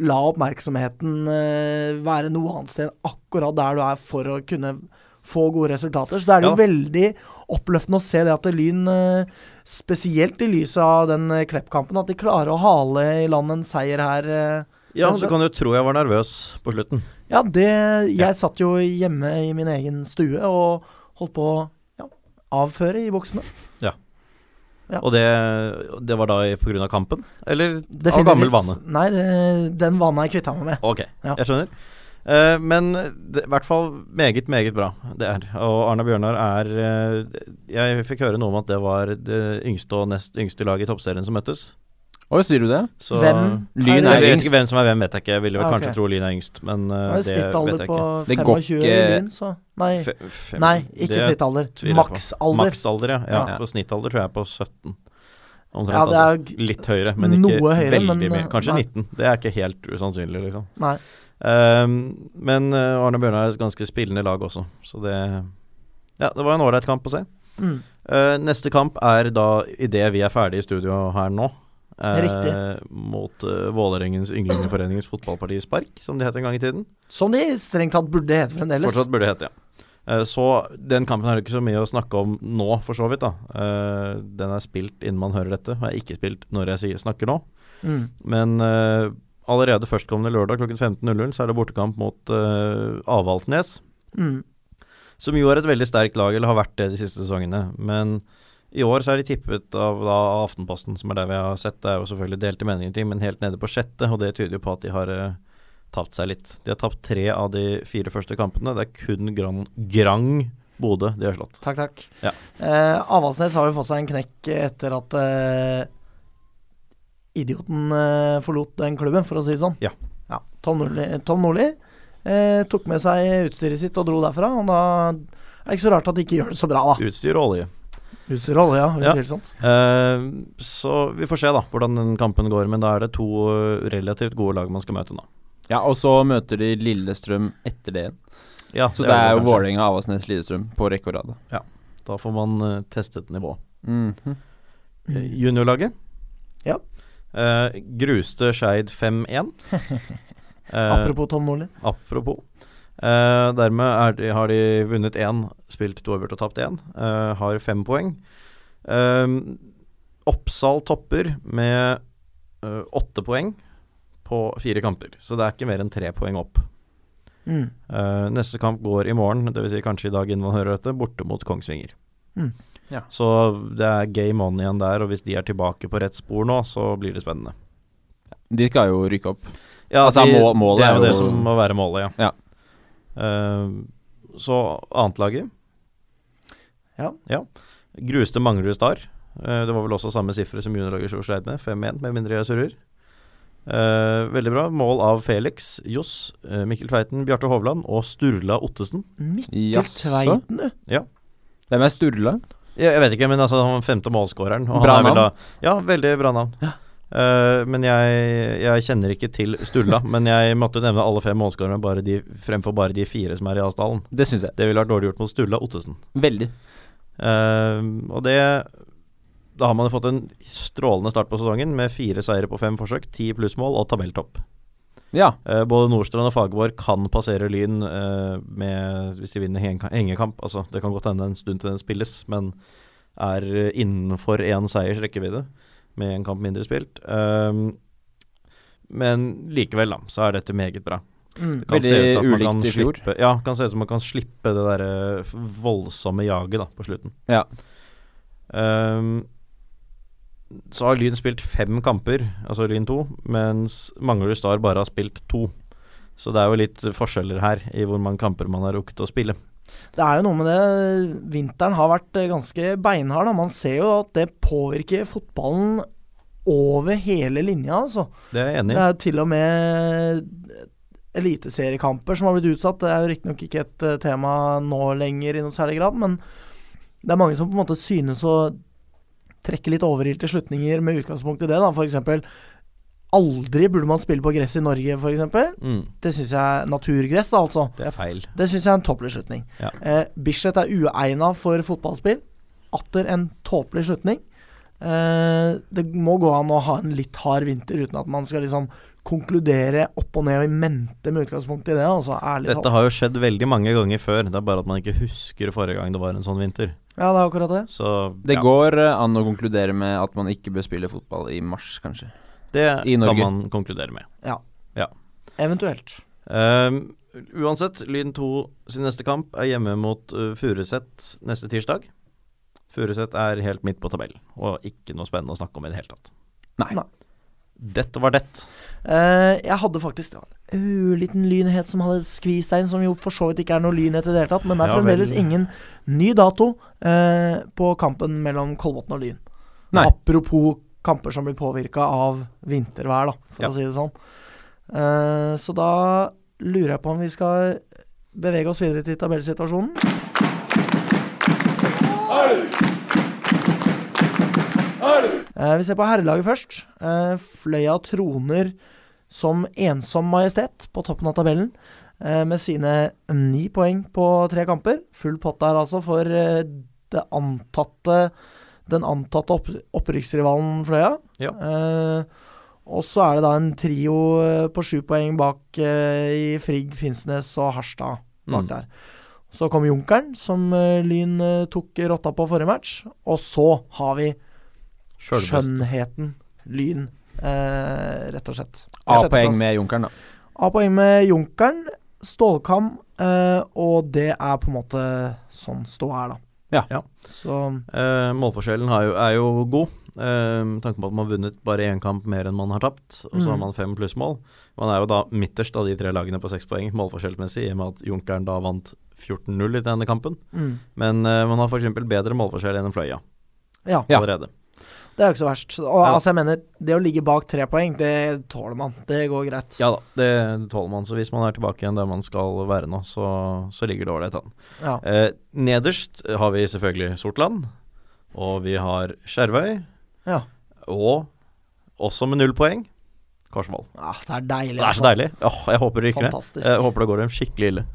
[SPEAKER 1] la oppmerksomheten eh, være noe annet sted enn akkurat der du er for å kunne få gode resultater. Så da er det jo veldig oppløftende å se det at Lyn, eh, spesielt i lyset av den eh, Klepp-kampen, at de klarer å hale i land en seier her. Eh.
[SPEAKER 2] Ja, du kan jo tro jeg var nervøs på slutten.
[SPEAKER 1] Ja, det Jeg
[SPEAKER 2] Ja.
[SPEAKER 1] satt jo hjemme i min egen stue og holdt på å ja, avføre i buksene. Ja.
[SPEAKER 2] Og det, det var da i- på grunn av kampen? Eller
[SPEAKER 1] Definitivt.
[SPEAKER 2] av gammel vane?
[SPEAKER 1] Nei, det, den vanen har jeg kvitta meg med.
[SPEAKER 2] Ok,
[SPEAKER 1] Ja.
[SPEAKER 2] jeg skjønner. Eh, men det, i hvert fall meget, meget bra. Det er. Og Arne Bjørnar er eh, Jeg fikk høre noe om at det var det yngste og nest yngste laget i toppserien som møttes.
[SPEAKER 3] Oi, sier du det?
[SPEAKER 2] Så
[SPEAKER 1] Hvem
[SPEAKER 2] Jeg
[SPEAKER 3] Lyn er
[SPEAKER 2] vet
[SPEAKER 3] yngst.
[SPEAKER 2] ikke hvem som er hvem, vet jeg ikke. Jeg ville vel
[SPEAKER 1] Ah, ok.
[SPEAKER 2] kanskje tro Lyn er yngst, men eh,
[SPEAKER 1] Det er
[SPEAKER 2] det vet
[SPEAKER 1] snittalder
[SPEAKER 2] jeg
[SPEAKER 1] på
[SPEAKER 2] ikke.
[SPEAKER 3] Det
[SPEAKER 1] 25
[SPEAKER 3] går
[SPEAKER 1] i
[SPEAKER 3] ikke-
[SPEAKER 1] Lyn, så Nei,
[SPEAKER 2] Fe- fem-
[SPEAKER 1] nei ikke
[SPEAKER 2] det-
[SPEAKER 1] snittalder.
[SPEAKER 2] tviler jeg på.
[SPEAKER 1] Maksalder.
[SPEAKER 2] Maksalder, ja. ja.
[SPEAKER 3] Ja.
[SPEAKER 2] På snittalder tror jeg er på 17. Omtrent,
[SPEAKER 1] Ja, det er
[SPEAKER 2] altså. Litt høyere, men ikke
[SPEAKER 1] noe høyere,
[SPEAKER 2] veldig
[SPEAKER 1] men, eh,
[SPEAKER 2] mye. Kanskje
[SPEAKER 1] nei.
[SPEAKER 2] 19. Det er ikke helt usannsynlig, liksom.
[SPEAKER 1] Nei.
[SPEAKER 2] Ehm, men eh, Arne Bjørnar er et ganske spillende lag også, så det Ja, det var en ålreit kamp å se.
[SPEAKER 1] Mm.
[SPEAKER 2] Eh, neste kamp er da idet vi er ferdig i studio her nå. eh,
[SPEAKER 1] Riktig.
[SPEAKER 2] Mot eh, Vålerengens ynglingeforeningens fotballparti Spark, som det het en gang i tiden.
[SPEAKER 1] Som de strengt tatt burde hete fremdeles.
[SPEAKER 2] Fortsatt burde det hete, ja. Eh, Så den kampen er det ikke så mye å snakke om nå, for så vidt. da Eh, Den er spilt innen man hører dette, og er ikke spilt når jeg sier snakker nå.
[SPEAKER 1] Mm.
[SPEAKER 2] Men eh, allerede førstkommende lørdag klokken 15.00 så er det bortekamp mot eh, Avaldsnes.
[SPEAKER 1] Mm.
[SPEAKER 2] Som jo er et veldig sterkt lag, eller har vært det de siste sesongene. Men i år så er de tippet av da, Aftenposten, som er der vi har sett. Det er jo selvfølgelig delte meninger til, men helt nede på sjette, og det tyder jo på at de har eh, tapt seg litt. De har tapt tre av de fire første kampene. Det er kun Gran Grang Bodø de har slått.
[SPEAKER 1] Takk, takk.
[SPEAKER 2] Ja.
[SPEAKER 1] Eh, Avaldsnes har jo fått seg en knekk etter at eh, idioten eh, forlot den klubben, for å si det sånn.
[SPEAKER 2] Ja.
[SPEAKER 1] Tom Nordli, Tom Nordli Eh, tok med seg utstyret sitt og dro derfra. Og da er det ikke så rart at de ikke gjør det så bra, da.
[SPEAKER 2] Utstyr og olje.
[SPEAKER 1] Utstyr og olje, ja.
[SPEAKER 2] Ja.
[SPEAKER 1] Utvilsomt.
[SPEAKER 2] Eh, så vi får se da hvordan den kampen går, men da er det to eh, relativt gode lag man skal møte nå.
[SPEAKER 3] Ja, og så møter de Lillestrøm etter det igjen.
[SPEAKER 2] Ja,
[SPEAKER 3] Så det er jo
[SPEAKER 2] kanskje.
[SPEAKER 3] Vålerenga, Avaldsnes, Lillestrøm på rekke og rad.
[SPEAKER 2] Da får man eh, testet nivået.
[SPEAKER 3] Mhm.
[SPEAKER 2] Eh, Juniorlaget
[SPEAKER 1] Mm. Ja.
[SPEAKER 2] Eh, gruste Skeid 5-1. Eh,
[SPEAKER 1] Apropos Tom Nordli.
[SPEAKER 2] Apropos. Eh, dermed er de, har de vunnet én, spilt to øvert og tapt én. eh, har fem poeng. Eh, Oppsal topper med eh, åtte poeng på fire kamper, så det er ikke mer enn tre poeng opp.
[SPEAKER 1] Mm.
[SPEAKER 2] Eh, neste kamp går i morgen, dvs. Si kanskje i dag innen man hører dette, borte mot Kongsvinger.
[SPEAKER 1] Mm.
[SPEAKER 3] Ja.
[SPEAKER 2] Så det er game on igjen der, og hvis de er tilbake på rett spor nå, så blir det spennende.
[SPEAKER 3] De skal jo rykke opp.
[SPEAKER 2] Ja,
[SPEAKER 3] Altså, må- målet
[SPEAKER 2] det er
[SPEAKER 3] er
[SPEAKER 2] jo det
[SPEAKER 3] jo-
[SPEAKER 2] som må være målet, ja.
[SPEAKER 3] Ja.
[SPEAKER 2] Eh, så annetlaget
[SPEAKER 1] Ja.
[SPEAKER 2] ja. Gruste Manglerud Star. Eh, det var vel også samme sifre som juniorlaget Sjo sleit med, 5-1, med mindre jeg surrer. Eh, veldig bra. Mål av Felix, Johs, eh, Mikkel Tveiten, Bjarte Hovland og Sturla Ottesen.
[SPEAKER 1] Mikkel
[SPEAKER 3] Jaså?
[SPEAKER 1] Tveiten, du.
[SPEAKER 3] Hvem er Sturla?
[SPEAKER 2] Jeg, jeg vet ikke, men altså han var femte målskåreren. og han
[SPEAKER 3] Bra
[SPEAKER 2] er vel
[SPEAKER 3] navn.
[SPEAKER 2] da- Ja, veldig bra navn. Eh, men jeg, jeg kjenner ikke til Sturla, men jeg måtte nevne alle fem målskårerne bare de, fremfor bare de fire som er i Asdalen.
[SPEAKER 3] Det syns jeg.
[SPEAKER 2] Det ville vært dårlig gjort mot Sturla Ottesen.
[SPEAKER 3] Veldig.
[SPEAKER 2] Eh, og det Da har man jo fått en strålende start på sesongen med fire seire på fem forsøk, ti plussmål og tabelltopp.
[SPEAKER 3] Ja.
[SPEAKER 2] Eh, både Nordstrand og Fagerborg kan passere Lyn eh, med, hvis de vinner henga- hengekamp. Altså, det kan godt hende en stund til den spilles, men er eh, innenfor én seiers rekkevidde med en kamp mindre spilt. Ehm, men likevel, da, så er dette meget bra.
[SPEAKER 1] Mm.
[SPEAKER 2] Det kan
[SPEAKER 3] Veldig
[SPEAKER 2] se ut til at man kan
[SPEAKER 3] ulikt i fjor.
[SPEAKER 2] Slippe, ja, kan se ut som man kan slippe det derre f- voldsomme jaget da, på slutten.
[SPEAKER 3] Ja.
[SPEAKER 2] Ehm, så har Lyn spilt fem kamper, altså Lyn to, mens Manglerud Star bare har spilt to. Så det er jo litt forskjeller her i hvor mange kamper man har rukket å spille.
[SPEAKER 1] Det er jo noe med det. Vinteren har vært eh, ganske beinhard. Da. Man ser jo at det påvirker fotballen over hele linja, altså.
[SPEAKER 2] Det er jeg enig
[SPEAKER 1] Det
[SPEAKER 2] i.
[SPEAKER 1] er jo til og med eliteseriekamper som har blitt utsatt. Det er jo riktignok ikke et eh, tema nå lenger i noe særlig grad, men det er mange som på en måte synes å trekke litt overilte slutninger med utgangspunkt i det, da. For eksempel aldri burde man spille på gress i Norge, for eksempel.
[SPEAKER 2] Mm,
[SPEAKER 1] Det syns jeg Naturgress, da, altså.
[SPEAKER 2] det er feil.
[SPEAKER 1] Det syns jeg er en tåpelig slutning.
[SPEAKER 2] Ja.
[SPEAKER 1] Eh, Bislett er uegna for fotballspill. Atter en tåpelig slutning. Eh, det må gå an å ha en litt hard vinter uten at man skal liksom konkludere opp og ned og i mente med utgangspunkt i det. Altså, ærlig
[SPEAKER 2] Dette
[SPEAKER 1] talt.
[SPEAKER 2] har jo skjedd veldig mange ganger før, det er bare at man ikke husker forrige gang det var en sånn vinter.
[SPEAKER 1] Ja, det er akkurat det.
[SPEAKER 2] Så
[SPEAKER 3] Det
[SPEAKER 2] ja,
[SPEAKER 3] går eh, an å konkludere med at man ikke bør spille fotball i mars, kanskje.
[SPEAKER 2] det
[SPEAKER 3] i
[SPEAKER 2] kan
[SPEAKER 3] Norge.
[SPEAKER 2] man konkludere med.
[SPEAKER 1] Eventuelt.
[SPEAKER 2] Ehm, uansett, Lyn 2 sin neste kamp er hjemme mot uh, Furuset neste tirsdag. Furuset er helt midt på tabellen, og ikke noe spennende å snakke om i det hele tatt.
[SPEAKER 3] Nei.
[SPEAKER 1] Nei.
[SPEAKER 2] Dette var det.
[SPEAKER 1] Eh, jeg hadde faktisk det var en ørliten lynhet som hadde skvist seg inn, som jo for så vidt ikke er noe lynhet i det hele tatt, men det er
[SPEAKER 2] Ja, vel.
[SPEAKER 1] fremdeles ingen ny dato eh, på kampen mellom Kolbotn og Lyn.
[SPEAKER 3] Nei.
[SPEAKER 1] Apropos kamper som blir påvirka av vintervær, da, for
[SPEAKER 2] Ja.
[SPEAKER 1] å si det sånn. Eh, så da lurer jeg på om vi skal bevege oss videre til tabellsituasjonen. Eh, vi ser på herrelaget først. Eh, Fløya troner som ensom majestet på toppen av tabellen. eh, Med sine ni poeng på tre kamper. Full pott der altså for eh, det antatte den antatte opp opprykksrivalen Fløya.
[SPEAKER 2] Ja.
[SPEAKER 1] Eh, og så er det da en trio eh, på sju poeng bak eh, i Frigg, Finnsnes og Harstad bak
[SPEAKER 2] Mm.
[SPEAKER 1] der. Så kom Junkeren, som eh, Lyn eh, tok rotta på forrige match. Og så har vi
[SPEAKER 2] Sjølvbest.
[SPEAKER 1] skjønnheten Lyn, eh, rett og slett.
[SPEAKER 3] A-poeng
[SPEAKER 1] Sjetteplass.
[SPEAKER 3] med Junkeren, da.
[SPEAKER 1] A-poeng med eh, Junkeren, Stålkam, eh, og det er på en måte sånn ståa er, da.
[SPEAKER 3] Ja.
[SPEAKER 2] Ja.
[SPEAKER 1] Så
[SPEAKER 2] Eh, målforskjellen har jo, er jo god. Eh, med tanke på at man har vunnet bare én kamp mer enn man har tapt, og så
[SPEAKER 1] Mm.
[SPEAKER 2] har man fem plussmål. Man er jo da midterst av de tre lagene på seks poeng målforskjellmessig, i og med at Junkeren da vant 14-0 i denne kampen.
[SPEAKER 1] mm.
[SPEAKER 2] Men eh, man har f.eks. bedre målforskjell enn Fløya
[SPEAKER 1] Ja.
[SPEAKER 3] Ja.
[SPEAKER 2] allerede.
[SPEAKER 1] Det er jo ikke så verst. Og
[SPEAKER 2] Ja.
[SPEAKER 1] altså, jeg mener, det å ligge bak tre poeng, det tåler man. Det går greit.
[SPEAKER 2] Ja da, det tåler man. Så hvis man er tilbake igjen der man skal være nå, så, så ligger det ålreit an.
[SPEAKER 1] Ja.
[SPEAKER 2] Eh, nederst har vi selvfølgelig Sortland, og vi har Skjervøy,
[SPEAKER 1] Ja.
[SPEAKER 2] og også med null poeng Korsvoll.
[SPEAKER 1] Ah, det er deilig.
[SPEAKER 2] Det er så
[SPEAKER 1] altså.
[SPEAKER 2] deilig. Åh, jeg håper det rykker ned.
[SPEAKER 1] Fantastisk.
[SPEAKER 2] Jeg håper det går dem skikkelig ille.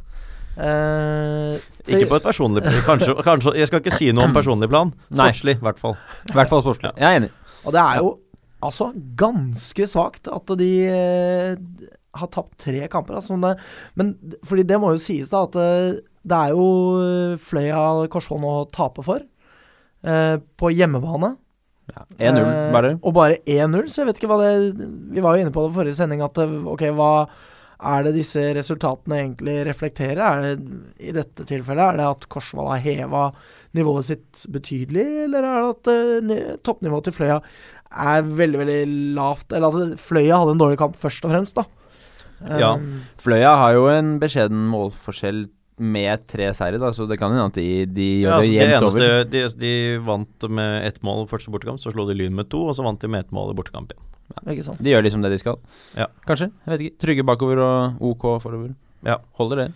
[SPEAKER 1] Eh,
[SPEAKER 2] Ikke på et personlig plan. Kanskje, kanskje, jeg skal ikke si noe om personlig plan.
[SPEAKER 3] Nei.
[SPEAKER 2] Sportslig, i hvert fall.
[SPEAKER 3] I hvert fall sportslig. Jeg er enig.
[SPEAKER 1] og det er jo altså ganske svakt at de eh, har tapt tre kamper. Altså, men, det, men d- fordi det må jo sies, da, at eh, det er jo eh, Fløya Korsvoll nå taper for. eh, på hjemmebane.
[SPEAKER 3] Ja. 1-0,
[SPEAKER 1] Eh,
[SPEAKER 3] bare.
[SPEAKER 1] Og bare 1-0, så jeg vet ikke hva det Vi var jo inne på det i forrige sending at eh, ok, hva er det disse resultatene egentlig reflekterer? Er det I dette tilfellet, er det at Korsvoll har heva nivået sitt betydelig, eller er det at eh, ni- toppnivået til Fløya er veldig, veldig lavt? Eller at Fløya hadde en dårlig kamp, først og fremst, da.
[SPEAKER 2] Ja.
[SPEAKER 1] Um,
[SPEAKER 3] Fløya har jo en beskjeden målforskjell med tre seire, da, så det kan hende at de, de gjør
[SPEAKER 2] Ja, altså,
[SPEAKER 3] det
[SPEAKER 2] det
[SPEAKER 3] jevnt
[SPEAKER 2] eneste,
[SPEAKER 3] over.
[SPEAKER 2] de, de vant med ett mål første bortekamp, så slo de Lyn med to, og så vant de med ett mål i bortekamp igjen.
[SPEAKER 1] ikke sant.
[SPEAKER 3] De gjør liksom det de skal.
[SPEAKER 2] Ja.
[SPEAKER 3] Kanskje. Jeg vet ikke. Trygge bakover og OK forover.
[SPEAKER 2] Ja.
[SPEAKER 3] Holder det.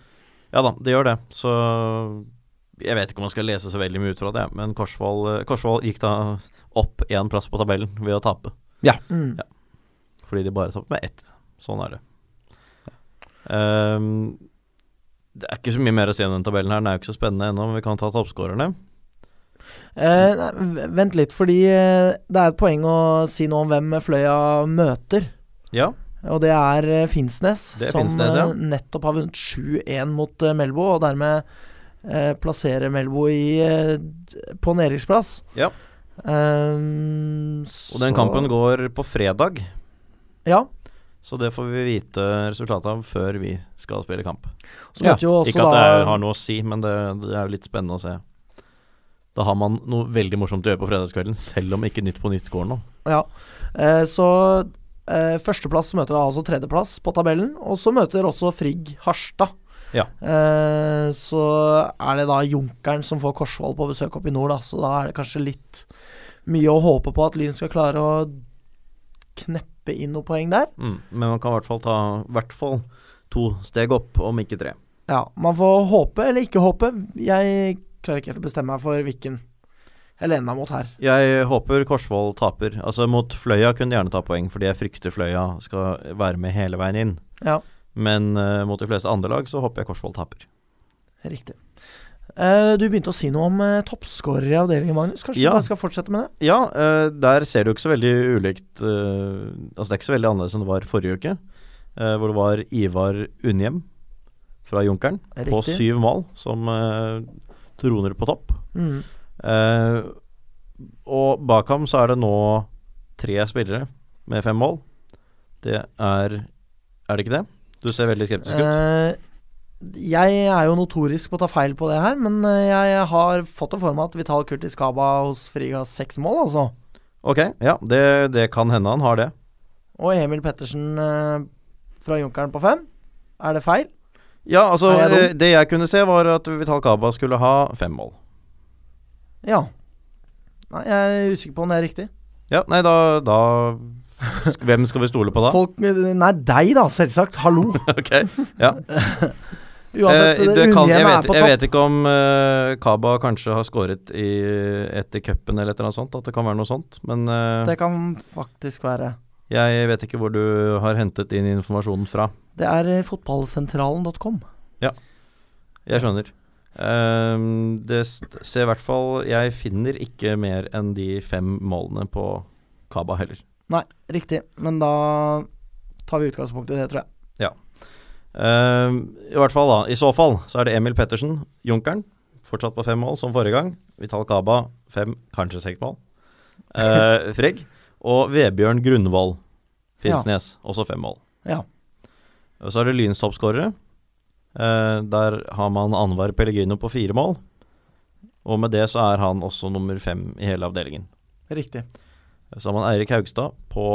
[SPEAKER 2] Ja da, det gjør det. Så jeg vet ikke om man skal lese så veldig mye ut fra det, men Korsvoll eh, Korsvoll gikk da opp én plass på tabellen ved å tape.
[SPEAKER 1] Mm.
[SPEAKER 2] Fordi de bare tapte med ett. Sånn er det. Ehm, det er ikke så mye mer å si om den tabellen her. Den er jo ikke så spennende ennå, men vi kan ta toppskårerne.
[SPEAKER 1] Eh, nei, v- vent litt, fordi eh, det er et poeng å si noe om hvem Fløya møter.
[SPEAKER 2] Ja,
[SPEAKER 1] Og det er eh, Finnsnes,
[SPEAKER 2] Det er
[SPEAKER 1] som
[SPEAKER 2] Finnsnes, ja.
[SPEAKER 1] eh, nettopp har vunnet 7-1 mot eh, Melbo, og dermed eh, plasserer Melbo i, eh, d- på nedrykksplass.
[SPEAKER 2] Ja.
[SPEAKER 1] Ehm,
[SPEAKER 2] og den
[SPEAKER 1] så-
[SPEAKER 2] kampen går på fredag,
[SPEAKER 1] Ja.
[SPEAKER 2] så det får vi vite resultatet av før vi skal spille kamp.
[SPEAKER 1] Så
[SPEAKER 3] Ja,
[SPEAKER 1] måtte jo også
[SPEAKER 2] ikke at det er-
[SPEAKER 1] da-
[SPEAKER 2] har noe å si, men det, det er jo litt spennende å se. Da har man noe veldig morsomt å gjøre på fredagskvelden, selv om ikke Nytt på Nytt går nå.
[SPEAKER 1] Ja. Eh, så eh, førsteplass møter da altså tredjeplass på tabellen, og så møter også Frigg Harstad.
[SPEAKER 2] Ja.
[SPEAKER 1] Eh, så er det da Junkeren som får Korsvoll på besøk opp i nord, da, så da er det kanskje litt mye å håpe på at Lyn skal klare å kneppe inn noen poeng der.
[SPEAKER 2] Mm. Men man kan i hvert fall ta i hvert fall to steg opp, om ikke tre.
[SPEAKER 1] Ja, man får håpe eller ikke håpe. Jeg klarer ikke helt å bestemme meg for hvilken jeg lener meg mot her.
[SPEAKER 2] Jeg håper Korsvoll taper. Altså Mot Fløya kunne de gjerne ta poeng, fordi jeg frykter Fløya skal være med hele veien inn.
[SPEAKER 1] Ja.
[SPEAKER 2] Men eh, mot de fleste andre lag så håper jeg Korsvoll taper.
[SPEAKER 1] Riktig. Eh, du begynte å si noe om uh, toppskårer i avdelingen, Magnus. Kanskje
[SPEAKER 2] Ja.
[SPEAKER 1] du bare skal fortsette med det?
[SPEAKER 2] Ja, eh, der ser det jo ikke så veldig ulikt eh, Altså det er ikke så veldig annerledes enn det var forrige uke, eh, hvor det var Ivar Unnhjem fra Junkeren på
[SPEAKER 1] Riktig.
[SPEAKER 2] syv mål, som eh, troner på topp.
[SPEAKER 1] Mm.
[SPEAKER 2] Eh, og bak ham så er det nå tre spillere med fem mål. Det er Er det ikke det? Du ser veldig skeptisk ut.
[SPEAKER 1] Eh, jeg er jo notorisk på å ta feil på det her, men eh, jeg har fått det for meg at Vital Kurtis Kaba hos Friga seks mål, altså.
[SPEAKER 2] Ok, ja, det, det kan hende han har det.
[SPEAKER 1] Og Emil Pettersen eh, fra Junkeren på fem. Er det feil?
[SPEAKER 2] Ja, altså
[SPEAKER 1] Er jeg dum?
[SPEAKER 2] eh, Det jeg kunne se, var at Vital Kaba skulle ha fem mål.
[SPEAKER 1] Ja. Nei, jeg er usikker på om det er riktig.
[SPEAKER 2] Ja, nei, da, da sk- Hvem skal vi stole på da?
[SPEAKER 1] Folk eh, Nei, deg, da, selvsagt. Hallo.
[SPEAKER 2] Ok, ja
[SPEAKER 1] Uansett,
[SPEAKER 2] Eh,
[SPEAKER 1] uh,
[SPEAKER 2] det Eh, kan, jeg,
[SPEAKER 1] Unnhjem er
[SPEAKER 2] vet,
[SPEAKER 1] på
[SPEAKER 2] jeg
[SPEAKER 1] topp.
[SPEAKER 2] vet ikke om eh, Kaba kanskje har skåret i, etter cupen eller et eller annet sånt. At det kan være noe sånt. Men eh,
[SPEAKER 1] Det kan faktisk være.
[SPEAKER 2] jeg vet ikke hvor du har hentet inn informasjonen fra.
[SPEAKER 1] Det er eh, fotballsentralen.com.
[SPEAKER 2] Jeg skjønner. Ehm, det st- ser i hvert fall Jeg finner ikke mer enn de fem målene på Kaba heller.
[SPEAKER 1] Riktig, men da tar vi utgangspunkt i det, tror jeg.
[SPEAKER 2] Ehm, I hvert fall, da. I så fall så er det Emil Pettersen, Junkeren, fortsatt på fem mål som forrige gang. Vital Kaba fem, kanskje seks mål. Eh, Fregg. Og Vebjørn Grunvoll, Finnsnes, også fem mål.
[SPEAKER 1] Ja.
[SPEAKER 2] Og så er det Lyns toppskårere. Eh, der har man Anwar Pellegrino på fire mål. Og med det så er han også nummer fem i hele avdelingen.
[SPEAKER 1] Riktig.
[SPEAKER 2] Så har man Eirik Haugstad på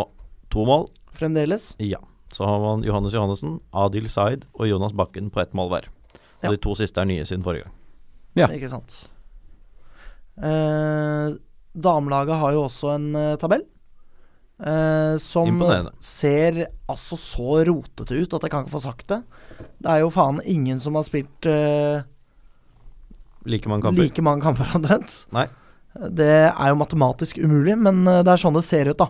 [SPEAKER 2] to mål.
[SPEAKER 1] Fremdeles.
[SPEAKER 2] Ja. Så har man Johannes Johannessen, Adil Zaid og Jonas Bakken på ett mål hver. Og
[SPEAKER 1] Ja.
[SPEAKER 2] de to siste er nye siden forrige gang.
[SPEAKER 3] Ja.
[SPEAKER 1] Ikke sant. Eh, damelaget har jo også en eh, tabell. eh, som
[SPEAKER 2] Imponerende.
[SPEAKER 1] ser altså så rotete ut at jeg kan ikke få sagt det. Det er jo faen ingen som har spilt eh,
[SPEAKER 2] Like mange kamper.
[SPEAKER 1] like mange kamper omtrent.
[SPEAKER 2] Nei.
[SPEAKER 1] Det er jo matematisk umulig, men eh, det er sånn det ser ut, da.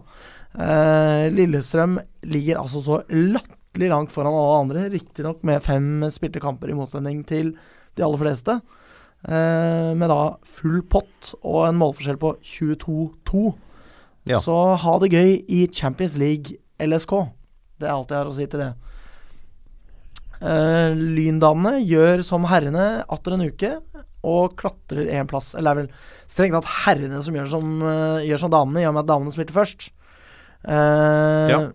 [SPEAKER 1] Eh, Lillestrøm ligger altså så latterlig langt foran alle andre, riktignok med fem spilte kamper i motsetning til de aller fleste. Eh, med da full pott og en målforskjell på 22-2.
[SPEAKER 2] Ja.
[SPEAKER 1] Så ha det gøy i Champions League LSK. Det er alt jeg har å si til det. Eh, lyndamene gjør som herrene atter en uke og klatrer én plass. Eller det er vel strengt tatt herrene som gjør som, eh, gjør som damene, i og med at damene spilte først. Eh,
[SPEAKER 2] Ja.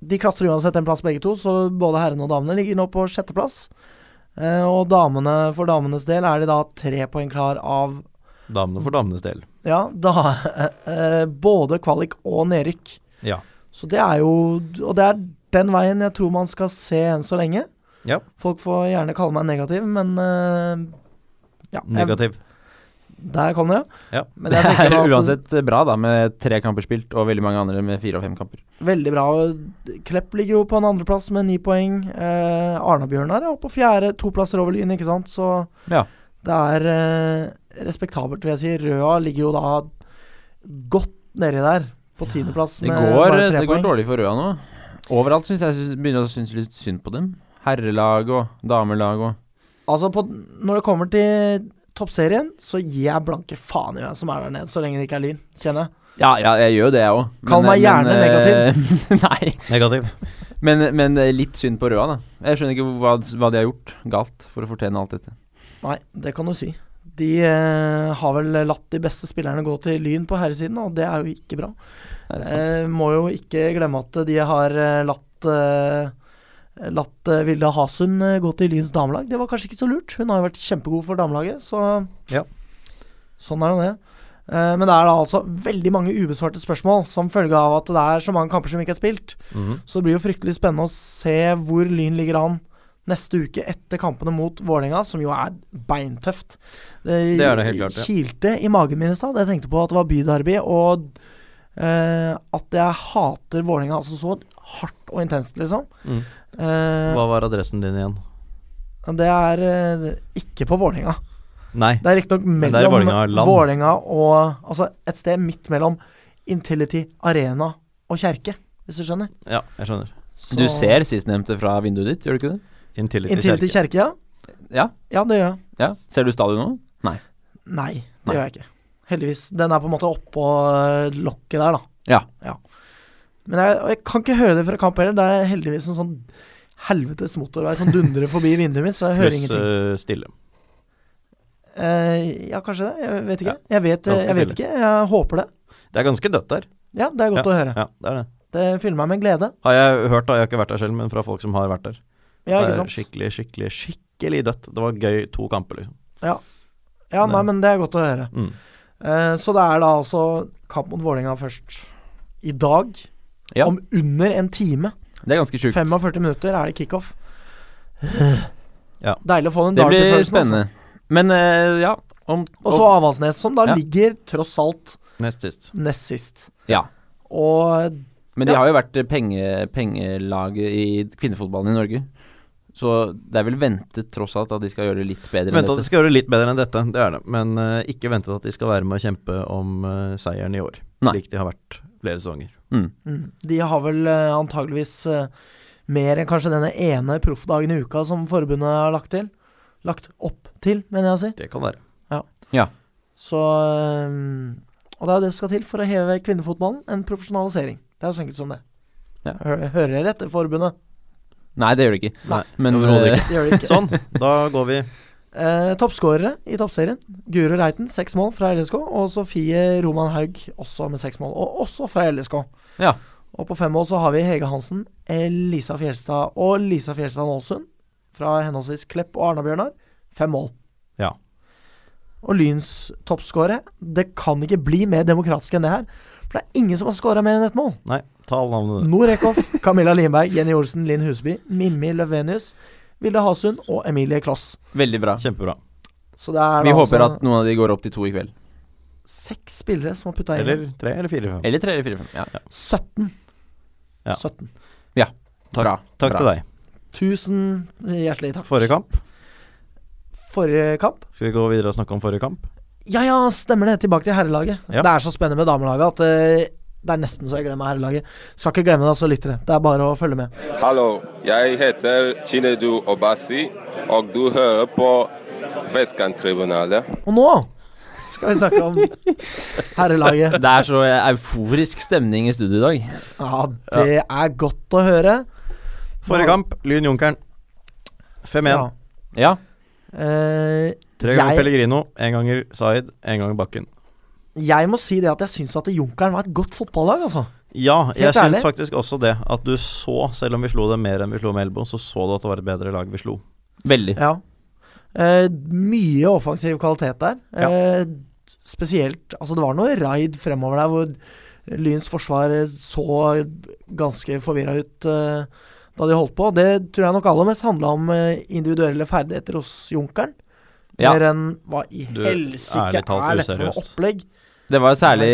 [SPEAKER 1] De klatrer uansett en plass begge to, så både herrene og damene ligger nå på sjetteplass. Eh, og damene, for damenes del er de da tre poeng klar av
[SPEAKER 2] Damene for damenes del.
[SPEAKER 1] ja, da, eh, både kvalik og nedrykk.
[SPEAKER 2] Ja.
[SPEAKER 1] Så det er jo Og det er den veien jeg tror man skal se enn så lenge.
[SPEAKER 2] Ja.
[SPEAKER 1] Folk får gjerne kalle meg negativ, men eh, ja, jeg,
[SPEAKER 2] Negativ.
[SPEAKER 1] Der kom det,
[SPEAKER 2] Ja.
[SPEAKER 1] Men
[SPEAKER 3] Det
[SPEAKER 1] jeg tenker
[SPEAKER 3] er
[SPEAKER 1] at-
[SPEAKER 3] uansett eh, bra, da, med tre kamper spilt og veldig mange andre med fire og fem kamper.
[SPEAKER 1] Veldig bra. Klepp ligger jo på en andreplass med ni poeng. Eh, Arna-Bjørnar er oppe på fjerde, to plasser over Lyn, ikke sant. Så
[SPEAKER 3] Ja.
[SPEAKER 1] det er eh, respektabelt, vil jeg si. Røa ligger jo da godt nedi der, på tiendeplass
[SPEAKER 3] Det
[SPEAKER 1] med
[SPEAKER 3] går, eh,
[SPEAKER 1] bare tre
[SPEAKER 3] det går
[SPEAKER 1] poeng.
[SPEAKER 3] dårlig for Røa nå. Overalt syns jeg synes, begynner jeg å synes litt synd på dem. Herrelag og damelag og
[SPEAKER 1] Altså, på, når det kommer til toppserien, så gir jeg blanke faen i hvem som er der nede, så lenge det ikke er Lyn, kjenner jeg.
[SPEAKER 3] Ja, ja jeg gjør jo det, jeg òg.
[SPEAKER 1] Kall meg gjerne
[SPEAKER 3] negativ. eh, nei.
[SPEAKER 2] Negativ.
[SPEAKER 3] Men, men det er litt synd på Røa, da. Jeg skjønner ikke hva, hva de har gjort galt for å fortjene alt dette.
[SPEAKER 1] Nei, det kan du si. De eh, har vel latt de beste spillerne gå til Lyn på herresiden, og det er jo ikke bra.
[SPEAKER 3] Er det sant?
[SPEAKER 1] Eh, må jo ikke glemme at de har eh, latt eh, Latt eh, Vilde Hasund eh, gå til Lyns damelag. Det var kanskje ikke så lurt. Hun har jo vært kjempegod for damelaget, så
[SPEAKER 2] Ja.
[SPEAKER 1] sånn er nå det. Eh, men det er da altså veldig mange ubesvarte spørsmål som følge av at det er så mange kamper som ikke er spilt.
[SPEAKER 2] Mhm.
[SPEAKER 1] Så det blir jo fryktelig spennende å se hvor Lyn ligger an neste uke etter kampene mot Vålerenga, som jo er beintøft.
[SPEAKER 2] Det er det helt klart, ja.
[SPEAKER 1] Kilte i magen min i stad. Jeg tenkte på at det var byderby, og eh, at jeg hater Vålerenga altså så hardt og intenst, liksom.
[SPEAKER 2] Mhm.
[SPEAKER 1] Eh,
[SPEAKER 2] Hva var adressen din igjen?
[SPEAKER 1] det er eh, ikke på Vålerenga.
[SPEAKER 2] Nei.
[SPEAKER 1] Det er riktignok
[SPEAKER 2] Men det er i
[SPEAKER 1] mellom
[SPEAKER 2] Vålerenga land.
[SPEAKER 1] Vålerenga og Altså et sted midt mellom Intility Arena og Kjerke, hvis du skjønner.
[SPEAKER 2] Ja, jeg skjønner.
[SPEAKER 1] Så-
[SPEAKER 3] Du ser sistnevnte fra vinduet ditt, gjør du ikke det?
[SPEAKER 2] Intility,
[SPEAKER 1] Intility
[SPEAKER 2] Intility Kjerke.
[SPEAKER 1] Kjerke, ja.
[SPEAKER 3] Ja?
[SPEAKER 1] Ja, det gjør jeg.
[SPEAKER 3] ja. Ser du stadion nå? Nei.
[SPEAKER 1] Nei, det
[SPEAKER 3] Nei.
[SPEAKER 1] gjør jeg ikke. Heldigvis. Den er på en måte oppå øh, lokket der, da.
[SPEAKER 3] Ja.
[SPEAKER 1] Men jeg, og jeg kan ikke høre det fra kamp heller. Det er heldigvis en sånn helvetes motorvei som dundrer forbi vinduet mitt, så jeg hører
[SPEAKER 2] Pluss
[SPEAKER 1] ingenting.
[SPEAKER 2] eh, stille.
[SPEAKER 1] Eh, ja, kanskje det. Jeg vet ikke.
[SPEAKER 2] Ja,
[SPEAKER 1] jeg vet, eh,
[SPEAKER 2] ganske
[SPEAKER 1] jeg vet
[SPEAKER 2] stille.
[SPEAKER 1] ikke. Jeg håper det.
[SPEAKER 2] Det er ganske dødt der.
[SPEAKER 1] Ja, det er godt å høre.
[SPEAKER 2] Ja, det er det.
[SPEAKER 1] Det fyller meg med glede.
[SPEAKER 2] Har jeg hørt, da. Jeg har ikke vært der selv, men fra folk som har vært der.
[SPEAKER 1] Ja,
[SPEAKER 2] det
[SPEAKER 1] ikke
[SPEAKER 2] er
[SPEAKER 1] sant.
[SPEAKER 2] skikkelig, skikkelig, skikkelig dødt. Det var gøy to kamper, liksom.
[SPEAKER 1] Ja, nei,
[SPEAKER 2] Nei.
[SPEAKER 1] men det er godt å høre.
[SPEAKER 2] Mm.
[SPEAKER 1] Eh, så det er da altså kamp mot Vålerenga først i dag.
[SPEAKER 3] Ja.
[SPEAKER 1] Om under en time.
[SPEAKER 3] Det er ganske sjukt.
[SPEAKER 1] 45 minutter er det kickoff.
[SPEAKER 2] Ja.
[SPEAKER 1] Deilig å få den
[SPEAKER 3] Det blir
[SPEAKER 1] derby-følelsen. altså.
[SPEAKER 3] spennende. Men eh, ja om,
[SPEAKER 1] Og så Avaldsnes, som da
[SPEAKER 3] Ja.
[SPEAKER 1] ligger tross alt
[SPEAKER 2] Nest sist.
[SPEAKER 1] nest sist.
[SPEAKER 3] Ja.
[SPEAKER 1] Og
[SPEAKER 3] Men de
[SPEAKER 1] Ja.
[SPEAKER 3] har jo vært eh, penge, pengelaget i kvinnefotballen i Norge. Så det er vel ventet tross alt at de skal gjøre det litt bedre enn
[SPEAKER 2] Vente at de
[SPEAKER 3] dette.
[SPEAKER 2] skal gjøre det litt bedre enn dette, det er det. Men eh, ikke vente at de skal være med å kjempe om eh, seieren i år,
[SPEAKER 3] Nei.
[SPEAKER 2] slik de har vært flere sesonger.
[SPEAKER 3] Mm.
[SPEAKER 1] mm, de har vel eh, antageligvis eh, mer enn kanskje denne ene proffdagen i uka som forbundet har lagt til. Lagt opp til, mener jeg å si.
[SPEAKER 2] Det kan være.
[SPEAKER 1] Så eh, Og det er jo det som skal til for å heve kvinnefotballen. En profesjonalisering. Det er jo så enkelt som det.
[SPEAKER 3] Ja.
[SPEAKER 1] Hø- Hører dere etter forbundet?
[SPEAKER 3] Nei, det gjør de ikke.
[SPEAKER 2] Nei,
[SPEAKER 3] Men
[SPEAKER 2] overhodet
[SPEAKER 3] eh,
[SPEAKER 1] Det gjør de ikke.
[SPEAKER 2] Sånn, da går vi
[SPEAKER 1] Eh, Toppskårere i toppserien. Guro Reiten, seks mål fra LSK. Og Sofie Roman Haug, også med seks mål. Og også fra LSK.
[SPEAKER 3] eh, Ja.
[SPEAKER 1] Og på fem mål så har vi Hege Hansen, Elisa Fjelstad og Lisa Fjelstad Nålsund. Fra henholdsvis Klepp og Arna-Bjørnar. Fem mål.
[SPEAKER 2] Ja.
[SPEAKER 1] Og Lyns toppskårer. Det kan ikke bli mer demokratisk enn det her. For det er ingen som har skåra mer enn ett mål.
[SPEAKER 2] Nei, ta alle
[SPEAKER 3] Mm.
[SPEAKER 2] navnene.
[SPEAKER 1] Norekov, Camilla Limberg, Jenny Olsen, Linn Husby, Mimmi Løvenius, Vilde Hasund og Emilie Kloss.
[SPEAKER 3] veldig bra.
[SPEAKER 2] Kjempebra.
[SPEAKER 1] Så det er
[SPEAKER 3] Vi
[SPEAKER 1] da
[SPEAKER 3] håper
[SPEAKER 1] altså-
[SPEAKER 3] at noen av de går opp til to i kveld.
[SPEAKER 1] seks spillere som har putta inn
[SPEAKER 2] Eller tre eller fire. fem.
[SPEAKER 3] Eller 3 eller 4 5. Ja.
[SPEAKER 1] 17.
[SPEAKER 2] Ja.
[SPEAKER 1] 17.
[SPEAKER 2] Takk,
[SPEAKER 3] Bra.
[SPEAKER 2] takk
[SPEAKER 3] Bra.
[SPEAKER 2] til deg.
[SPEAKER 1] Tusen hjertelig takk.
[SPEAKER 2] Forrige kamp.
[SPEAKER 1] Forrige kamp?
[SPEAKER 2] Skal vi gå videre og snakke om forrige kamp?
[SPEAKER 1] Ja ja, stemmer det. Tilbake til herrelaget.
[SPEAKER 2] Ja.
[SPEAKER 1] Det er så spennende med damelaget at eh, det er nesten så jeg glemmer herrelaget. Skal ikke glemme det, altså, lyttere. Det er bare å følge med.
[SPEAKER 5] Hallo, jeg heter Chinedu Obasi, og du hører på Vestkanttribunalet.
[SPEAKER 1] Og nå skal vi snakke om herrelaget.
[SPEAKER 3] Det er så euforisk stemning i studio i dag.
[SPEAKER 1] Ja, det er godt å høre.
[SPEAKER 2] Forrige kamp, Lyn Junkeren. 5-1.
[SPEAKER 1] Ja.
[SPEAKER 3] Ja.
[SPEAKER 1] Eh,
[SPEAKER 2] Tre ganger
[SPEAKER 1] jeg,
[SPEAKER 2] Pellegrino, én ganger Zaid, én ganger Bakken.
[SPEAKER 1] jeg må si det at jeg syns at Junkeren var et godt fotballag, altså.
[SPEAKER 2] Ja, jeg
[SPEAKER 1] Helt ærlig?
[SPEAKER 2] syns faktisk også det. At du så, selv om vi slo dem mer enn vi slo Melbo, så så du at det var et bedre lag vi slo.
[SPEAKER 3] Veldig.
[SPEAKER 1] Ja. Eh, mye offensiv kvalitet der.
[SPEAKER 2] Ja.
[SPEAKER 1] Eh, spesielt Altså, det var noe raid fremover der hvor Lyns forsvar så ganske forvirra ut eh, da de holdt på. Det tror jeg nok aller mest handla om eh, individuelle ferdigheter hos Junkeren.
[SPEAKER 3] Ja.
[SPEAKER 1] Mer enn hva i
[SPEAKER 2] Du,
[SPEAKER 1] helsike
[SPEAKER 2] ærlig talt,
[SPEAKER 1] er dette for noe
[SPEAKER 2] useriøst.
[SPEAKER 1] opplegg?
[SPEAKER 3] Det var særlig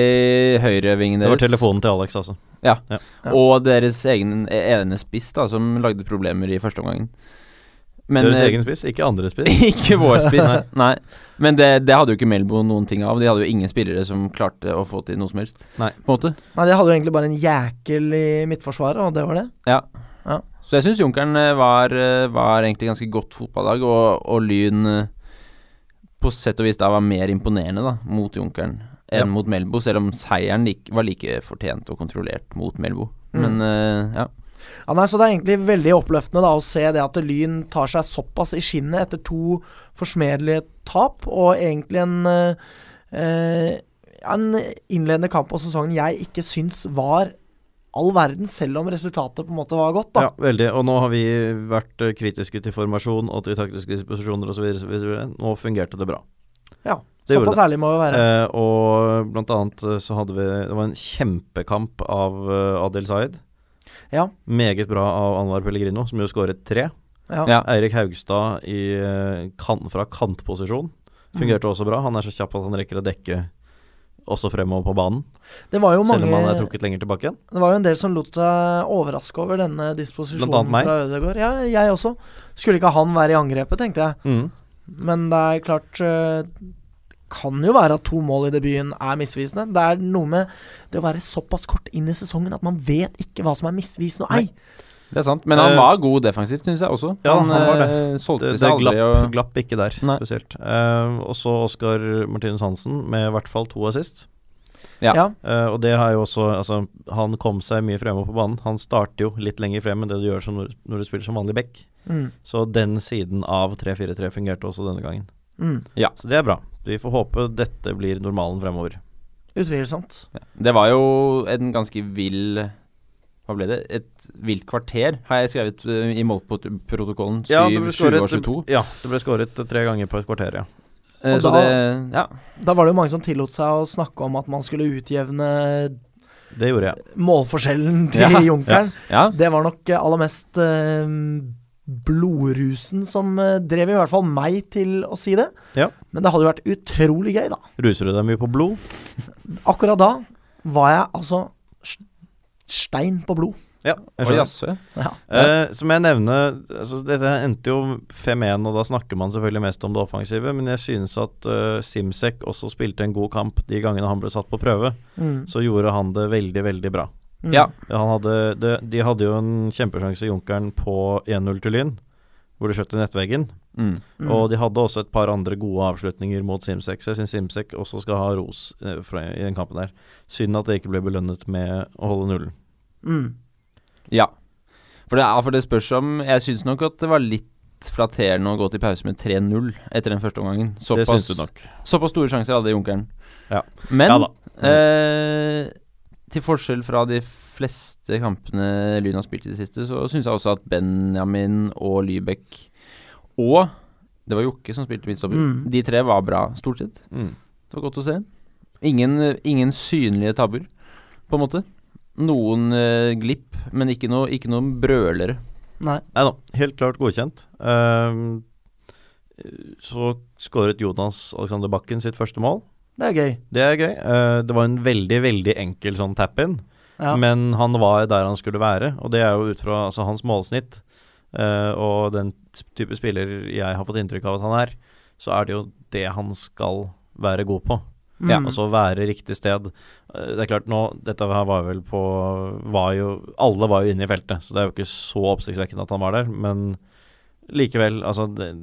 [SPEAKER 3] høyrevingen
[SPEAKER 2] Det
[SPEAKER 3] deres.
[SPEAKER 2] var telefonen til Alex, altså.
[SPEAKER 1] Ja.
[SPEAKER 3] Og deres egen e, ene spiss, da, som lagde problemer i første omgangen. Men
[SPEAKER 2] Deres
[SPEAKER 3] eh,
[SPEAKER 2] egen spiss, ikke andre spiss.
[SPEAKER 3] ikke vår spiss, nei. Men det, det hadde jo ikke Melbo noen ting av. De hadde jo ingen spillere som klarte å få til noe som helst.
[SPEAKER 2] Nei.
[SPEAKER 3] På en måte.
[SPEAKER 1] Nei, de hadde jo egentlig bare en jækel i midtforsvaret, og det var det.
[SPEAKER 3] Ja.
[SPEAKER 1] Ja.
[SPEAKER 3] Så jeg syns Junkeren eh, var, eh, var egentlig ganske godt fotballag, og, og Lyn eh, på sett og vis da var mer imponerende da, mot Junkeren enn
[SPEAKER 2] Ja.
[SPEAKER 3] mot Melbo, selv om seieren lik, var like fortjent og kontrollert mot Melbo.
[SPEAKER 1] Mm.
[SPEAKER 3] Men eh, ja.
[SPEAKER 1] Ja, nei, så Det er egentlig veldig oppløftende da, å se det at Lyn tar seg såpass i skinnet etter to forsmedelige tap, og egentlig en, eh, eh, en innledende kamp på sesongen jeg ikke syns var all verden, selv om resultatet på en måte var godt. da.
[SPEAKER 2] Ja, veldig. Og nå har vi vært eh, kritiske til formasjon og til taktiske disposisjoner osv. Nå fungerte det bra.
[SPEAKER 1] Ja,
[SPEAKER 2] det gjorde
[SPEAKER 1] Såpass ærlig må vi være.
[SPEAKER 2] Eh, og blant annet eh, så hadde vi Det var en kjempekamp av eh, Adil Zaid.
[SPEAKER 1] Ja.
[SPEAKER 2] Meget bra av Anwar Pellegrino, som jo skåret tre.
[SPEAKER 1] Ja.
[SPEAKER 3] ja.
[SPEAKER 2] Eirik Haugstad i, eh, kan, fra kantposisjon fungerte også bra. Han er så kjapp at han rekker å dekke også fremover på banen,
[SPEAKER 1] Det var jo
[SPEAKER 2] selv
[SPEAKER 1] mange
[SPEAKER 2] om han er trukket lenger tilbake igjen.
[SPEAKER 1] Det var jo en del som lot seg overraske over denne
[SPEAKER 2] Blant annet
[SPEAKER 1] disposisjonen
[SPEAKER 2] meg.
[SPEAKER 1] fra Ødegaard. Ja, jeg også. Skulle ikke han være i angrepet, tenkte jeg.
[SPEAKER 2] Mm.
[SPEAKER 1] Men det er klart eh, Kan jo være at to mål i debuten er misvisende. Det er noe med det å være såpass kort inn i sesongen at man vet ikke hva som er misvisende og ei.
[SPEAKER 3] Det er sant. Men han
[SPEAKER 2] Eh,
[SPEAKER 3] var god defensivt, syns jeg også.
[SPEAKER 2] ja, han var det.
[SPEAKER 3] eh, solgte
[SPEAKER 2] Det, det
[SPEAKER 3] seg aldri.
[SPEAKER 2] glapp,
[SPEAKER 3] Og,
[SPEAKER 2] glapp ikke der,
[SPEAKER 3] Nei.
[SPEAKER 2] spesielt. Eh, og så Oskar Martinus Hansen med i hvert fall to assist.
[SPEAKER 3] Ja.
[SPEAKER 1] Ja.
[SPEAKER 2] Eh, og det har jo også Altså, han kom seg mye fremover på banen. Han starter jo litt lenger frem enn det du gjør som når, når du spiller som vanlig back.
[SPEAKER 1] Mm,
[SPEAKER 2] Så den siden av 3-4-3 fungerte også denne gangen.
[SPEAKER 1] mm,
[SPEAKER 2] Så det er bra. Vi får håpe dette blir normalen fremover.
[SPEAKER 1] utvilsomt.
[SPEAKER 3] det var jo en ganske vill Hva ble det? Et vilt kvarter, har jeg skrevet eh, i målprotokollen. 7
[SPEAKER 2] Ja, det ble
[SPEAKER 3] 20 og
[SPEAKER 2] skåret-
[SPEAKER 3] 22.
[SPEAKER 2] Ja, det ble skåret tre ganger på et kvarter, ja.
[SPEAKER 3] Eh,
[SPEAKER 1] Og
[SPEAKER 3] så
[SPEAKER 1] da-
[SPEAKER 3] det Ja.
[SPEAKER 1] Da var det jo mange som tillot seg å snakke om at man skulle utjevne
[SPEAKER 2] Det gjorde jeg.
[SPEAKER 1] målforskjellen til
[SPEAKER 3] Ja,
[SPEAKER 1] Junkeren.
[SPEAKER 3] ja.
[SPEAKER 1] Det var nok eh, aller mest eh, blodrusen som eh, drev i hvert fall meg til å si det.
[SPEAKER 2] Ja.
[SPEAKER 1] Men det hadde jo vært utrolig gøy, da.
[SPEAKER 2] Ruser du deg mye på blod?
[SPEAKER 1] Akkurat da var jeg altså s- stein på blod.
[SPEAKER 2] Ja, jeg
[SPEAKER 3] Oi,
[SPEAKER 2] skjønner.
[SPEAKER 3] jaså.
[SPEAKER 1] Ja.
[SPEAKER 2] Eh, som jeg nevner, altså, dette endte jo 5-1, og da snakker man selvfølgelig mest om det offensive, men jeg synes at eh, Simsek også spilte en god kamp de gangene han ble satt på prøve.
[SPEAKER 1] Mm,
[SPEAKER 2] Så gjorde han det veldig, veldig bra.
[SPEAKER 1] mm.
[SPEAKER 3] Ja.
[SPEAKER 2] Han hadde, det, de hadde jo en kjempesjanse, Junkeren, på 1-0 til Lyn, hvor det skjøt i nettveggen.
[SPEAKER 3] Mm.
[SPEAKER 1] Mm.
[SPEAKER 2] Og de hadde også et par andre gode avslutninger mot Simsek, så jeg syns Simsek også skal ha ros eh, fra, i den kampen der. Synd at det ikke ble belønnet med å holde nullen.
[SPEAKER 1] Mm.
[SPEAKER 3] Ja. For det, er, for det spørs om Jeg syns nok at det var litt flatterende å gå til pause med 3-0 etter den første omgangen.
[SPEAKER 2] Det
[SPEAKER 3] Såpass,
[SPEAKER 2] syns du nok.
[SPEAKER 3] såpass store sjanser hadde Junkeren.
[SPEAKER 2] Ja.
[SPEAKER 3] Men
[SPEAKER 2] Ja da.
[SPEAKER 3] eh, til forskjell fra de fleste kampene Lyn har spilt i det siste, så syns jeg også at Benjamin og Lybekk og det var Jokke som spilte midtstopper.
[SPEAKER 1] Mm.
[SPEAKER 3] De tre var bra, stort sett.
[SPEAKER 2] Mm.
[SPEAKER 3] Det var godt å se. Ingen, ingen synlige tabber, på en måte. Noen eh, glipp, men ikke, noe, ikke noen brølere.
[SPEAKER 1] Nei.
[SPEAKER 2] Nei da, helt klart godkjent. Ehm, så skåret Jonas Alexander Bakken sitt første mål.
[SPEAKER 1] Det er gøy.
[SPEAKER 2] Det er gøy. Eh, det var en veldig, veldig enkel sånn tap-in.
[SPEAKER 1] Ja.
[SPEAKER 2] Men han var der han skulle være, og det er jo ut fra altså, hans målsnitt eh, og den type spiller jeg har fått inntrykk av at han er, så er det jo det han skal være god på.
[SPEAKER 1] Mm.
[SPEAKER 2] Altså være riktig sted. Eh, Det er klart nå, Dette her var vel på var jo, Alle var jo inne i feltet, så det er jo ikke så oppsiktsvekkende at han var der. Men likevel, altså det-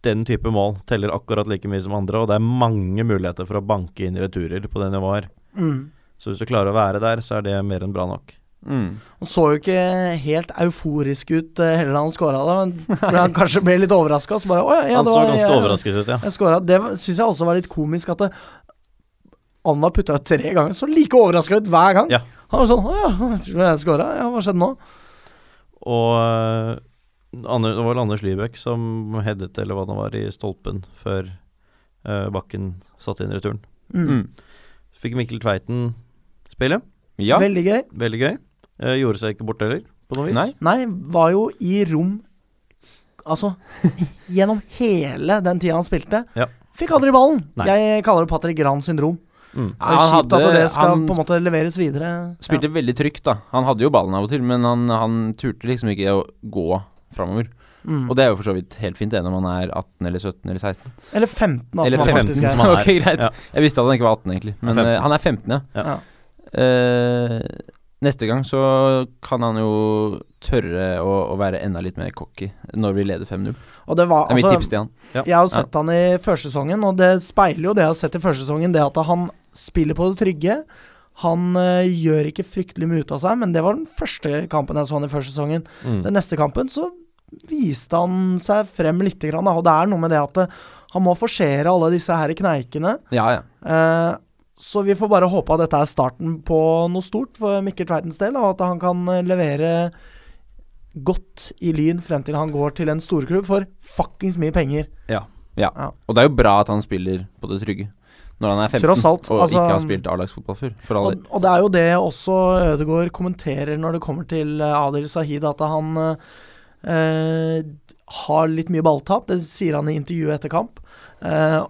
[SPEAKER 2] Den type mål teller akkurat like mye som andre, og det er mange muligheter for å banke inn returer på det nivået her.
[SPEAKER 1] Mm.
[SPEAKER 2] Så hvis du klarer å være der, så er det mer enn bra nok.
[SPEAKER 3] Mm.
[SPEAKER 1] Han så jo ikke helt euforisk ut eh, heller da han scora det, men for han kanskje ble litt overraska. Så bare Å ja, ja,
[SPEAKER 2] Han
[SPEAKER 1] det
[SPEAKER 2] så
[SPEAKER 1] var-
[SPEAKER 2] ganske
[SPEAKER 1] jeg-
[SPEAKER 2] overrasket ut, ja.
[SPEAKER 1] Jeg scora. Det syns jeg også var litt komisk at eh, det, Anna putta ut tre ganger, så like overraska ut hver gang.
[SPEAKER 2] Ja.
[SPEAKER 1] Han var sånn Å ja, jeg tror jeg scora. Ja, hva skjedde nå?
[SPEAKER 2] Og eh, Ander, det var vel Anders Lybekk som headet, eller hva det var, i stolpen før eh, Bakken satte inn returen.
[SPEAKER 1] Mm.
[SPEAKER 3] Mm.
[SPEAKER 2] Fikk Mikkel Tveiten spille.
[SPEAKER 3] Ja.
[SPEAKER 1] Veldig gøy.
[SPEAKER 2] Veldig gøy. Eh, gjorde seg ikke bort heller, på noe vis.
[SPEAKER 3] Nei.
[SPEAKER 1] Nei, var jo i rom Altså, gjennom hele den tida han spilte,
[SPEAKER 2] Ja.
[SPEAKER 1] fikk aldri ballen.
[SPEAKER 2] Nei.
[SPEAKER 1] Jeg kaller det Patrick Gran syndrom.
[SPEAKER 2] Mm.
[SPEAKER 1] Det er kjipt at det skal
[SPEAKER 3] han
[SPEAKER 1] på en måte leveres videre.
[SPEAKER 3] spilte veldig trygt, da. Han hadde jo ballen av og til, men han, han turte liksom ikke å gå framover.
[SPEAKER 1] Mm.
[SPEAKER 3] Og det er jo for så vidt helt fint, det, når man er 18 eller 17 eller 16.
[SPEAKER 1] Eller 15, altså.
[SPEAKER 3] Eller
[SPEAKER 1] Eller
[SPEAKER 3] 15
[SPEAKER 1] faktisk er.
[SPEAKER 2] som han er.
[SPEAKER 3] Ok, greit.
[SPEAKER 2] Ja.
[SPEAKER 3] Jeg visste at han ikke var 18, egentlig, men
[SPEAKER 2] Han er
[SPEAKER 3] eh, han er 15, ja.
[SPEAKER 2] Ja.
[SPEAKER 1] Ja.
[SPEAKER 3] Eh, neste gang så kan han jo tørre å, å være enda litt mer cocky når vi leder 5-0. Det
[SPEAKER 1] Og det var,
[SPEAKER 3] er mitt
[SPEAKER 1] altså,
[SPEAKER 3] tips til han.
[SPEAKER 1] jeg har jo sett han i førsesongen, og det speiler jo det jeg har sett i førsesongen, det at han spiller på det trygge. Han eh, gjør ikke fryktelig mye ut av seg, men det var den første kampen jeg så han i førsesongen.
[SPEAKER 2] Mm.
[SPEAKER 1] Den neste kampen så viste han seg frem lite grann, da, og det er noe med det at eh, han må forsere alle disse her kneikene.
[SPEAKER 3] Ja, ja.
[SPEAKER 1] Eh, så vi får bare håpe at dette er starten på noe stort for Mikkel Tveitens del, og at han kan eh, levere godt i Lyn frem til han går til en storklubb for fuckings mye penger.
[SPEAKER 3] ja.
[SPEAKER 1] Ja.
[SPEAKER 3] Og det er jo bra at han spiller på det trygge når han er 15
[SPEAKER 1] Tross alt,
[SPEAKER 3] og
[SPEAKER 1] altså-
[SPEAKER 3] ikke har spilt A-lagsfotball før. For all
[SPEAKER 1] Og,
[SPEAKER 3] del.
[SPEAKER 1] og det er jo det også Ødegaard kommenterer når det kommer til eh, Adil Sahid, at han eh, eh, har litt mye balltap. Det sier han i intervjuet etter kamp. Eh,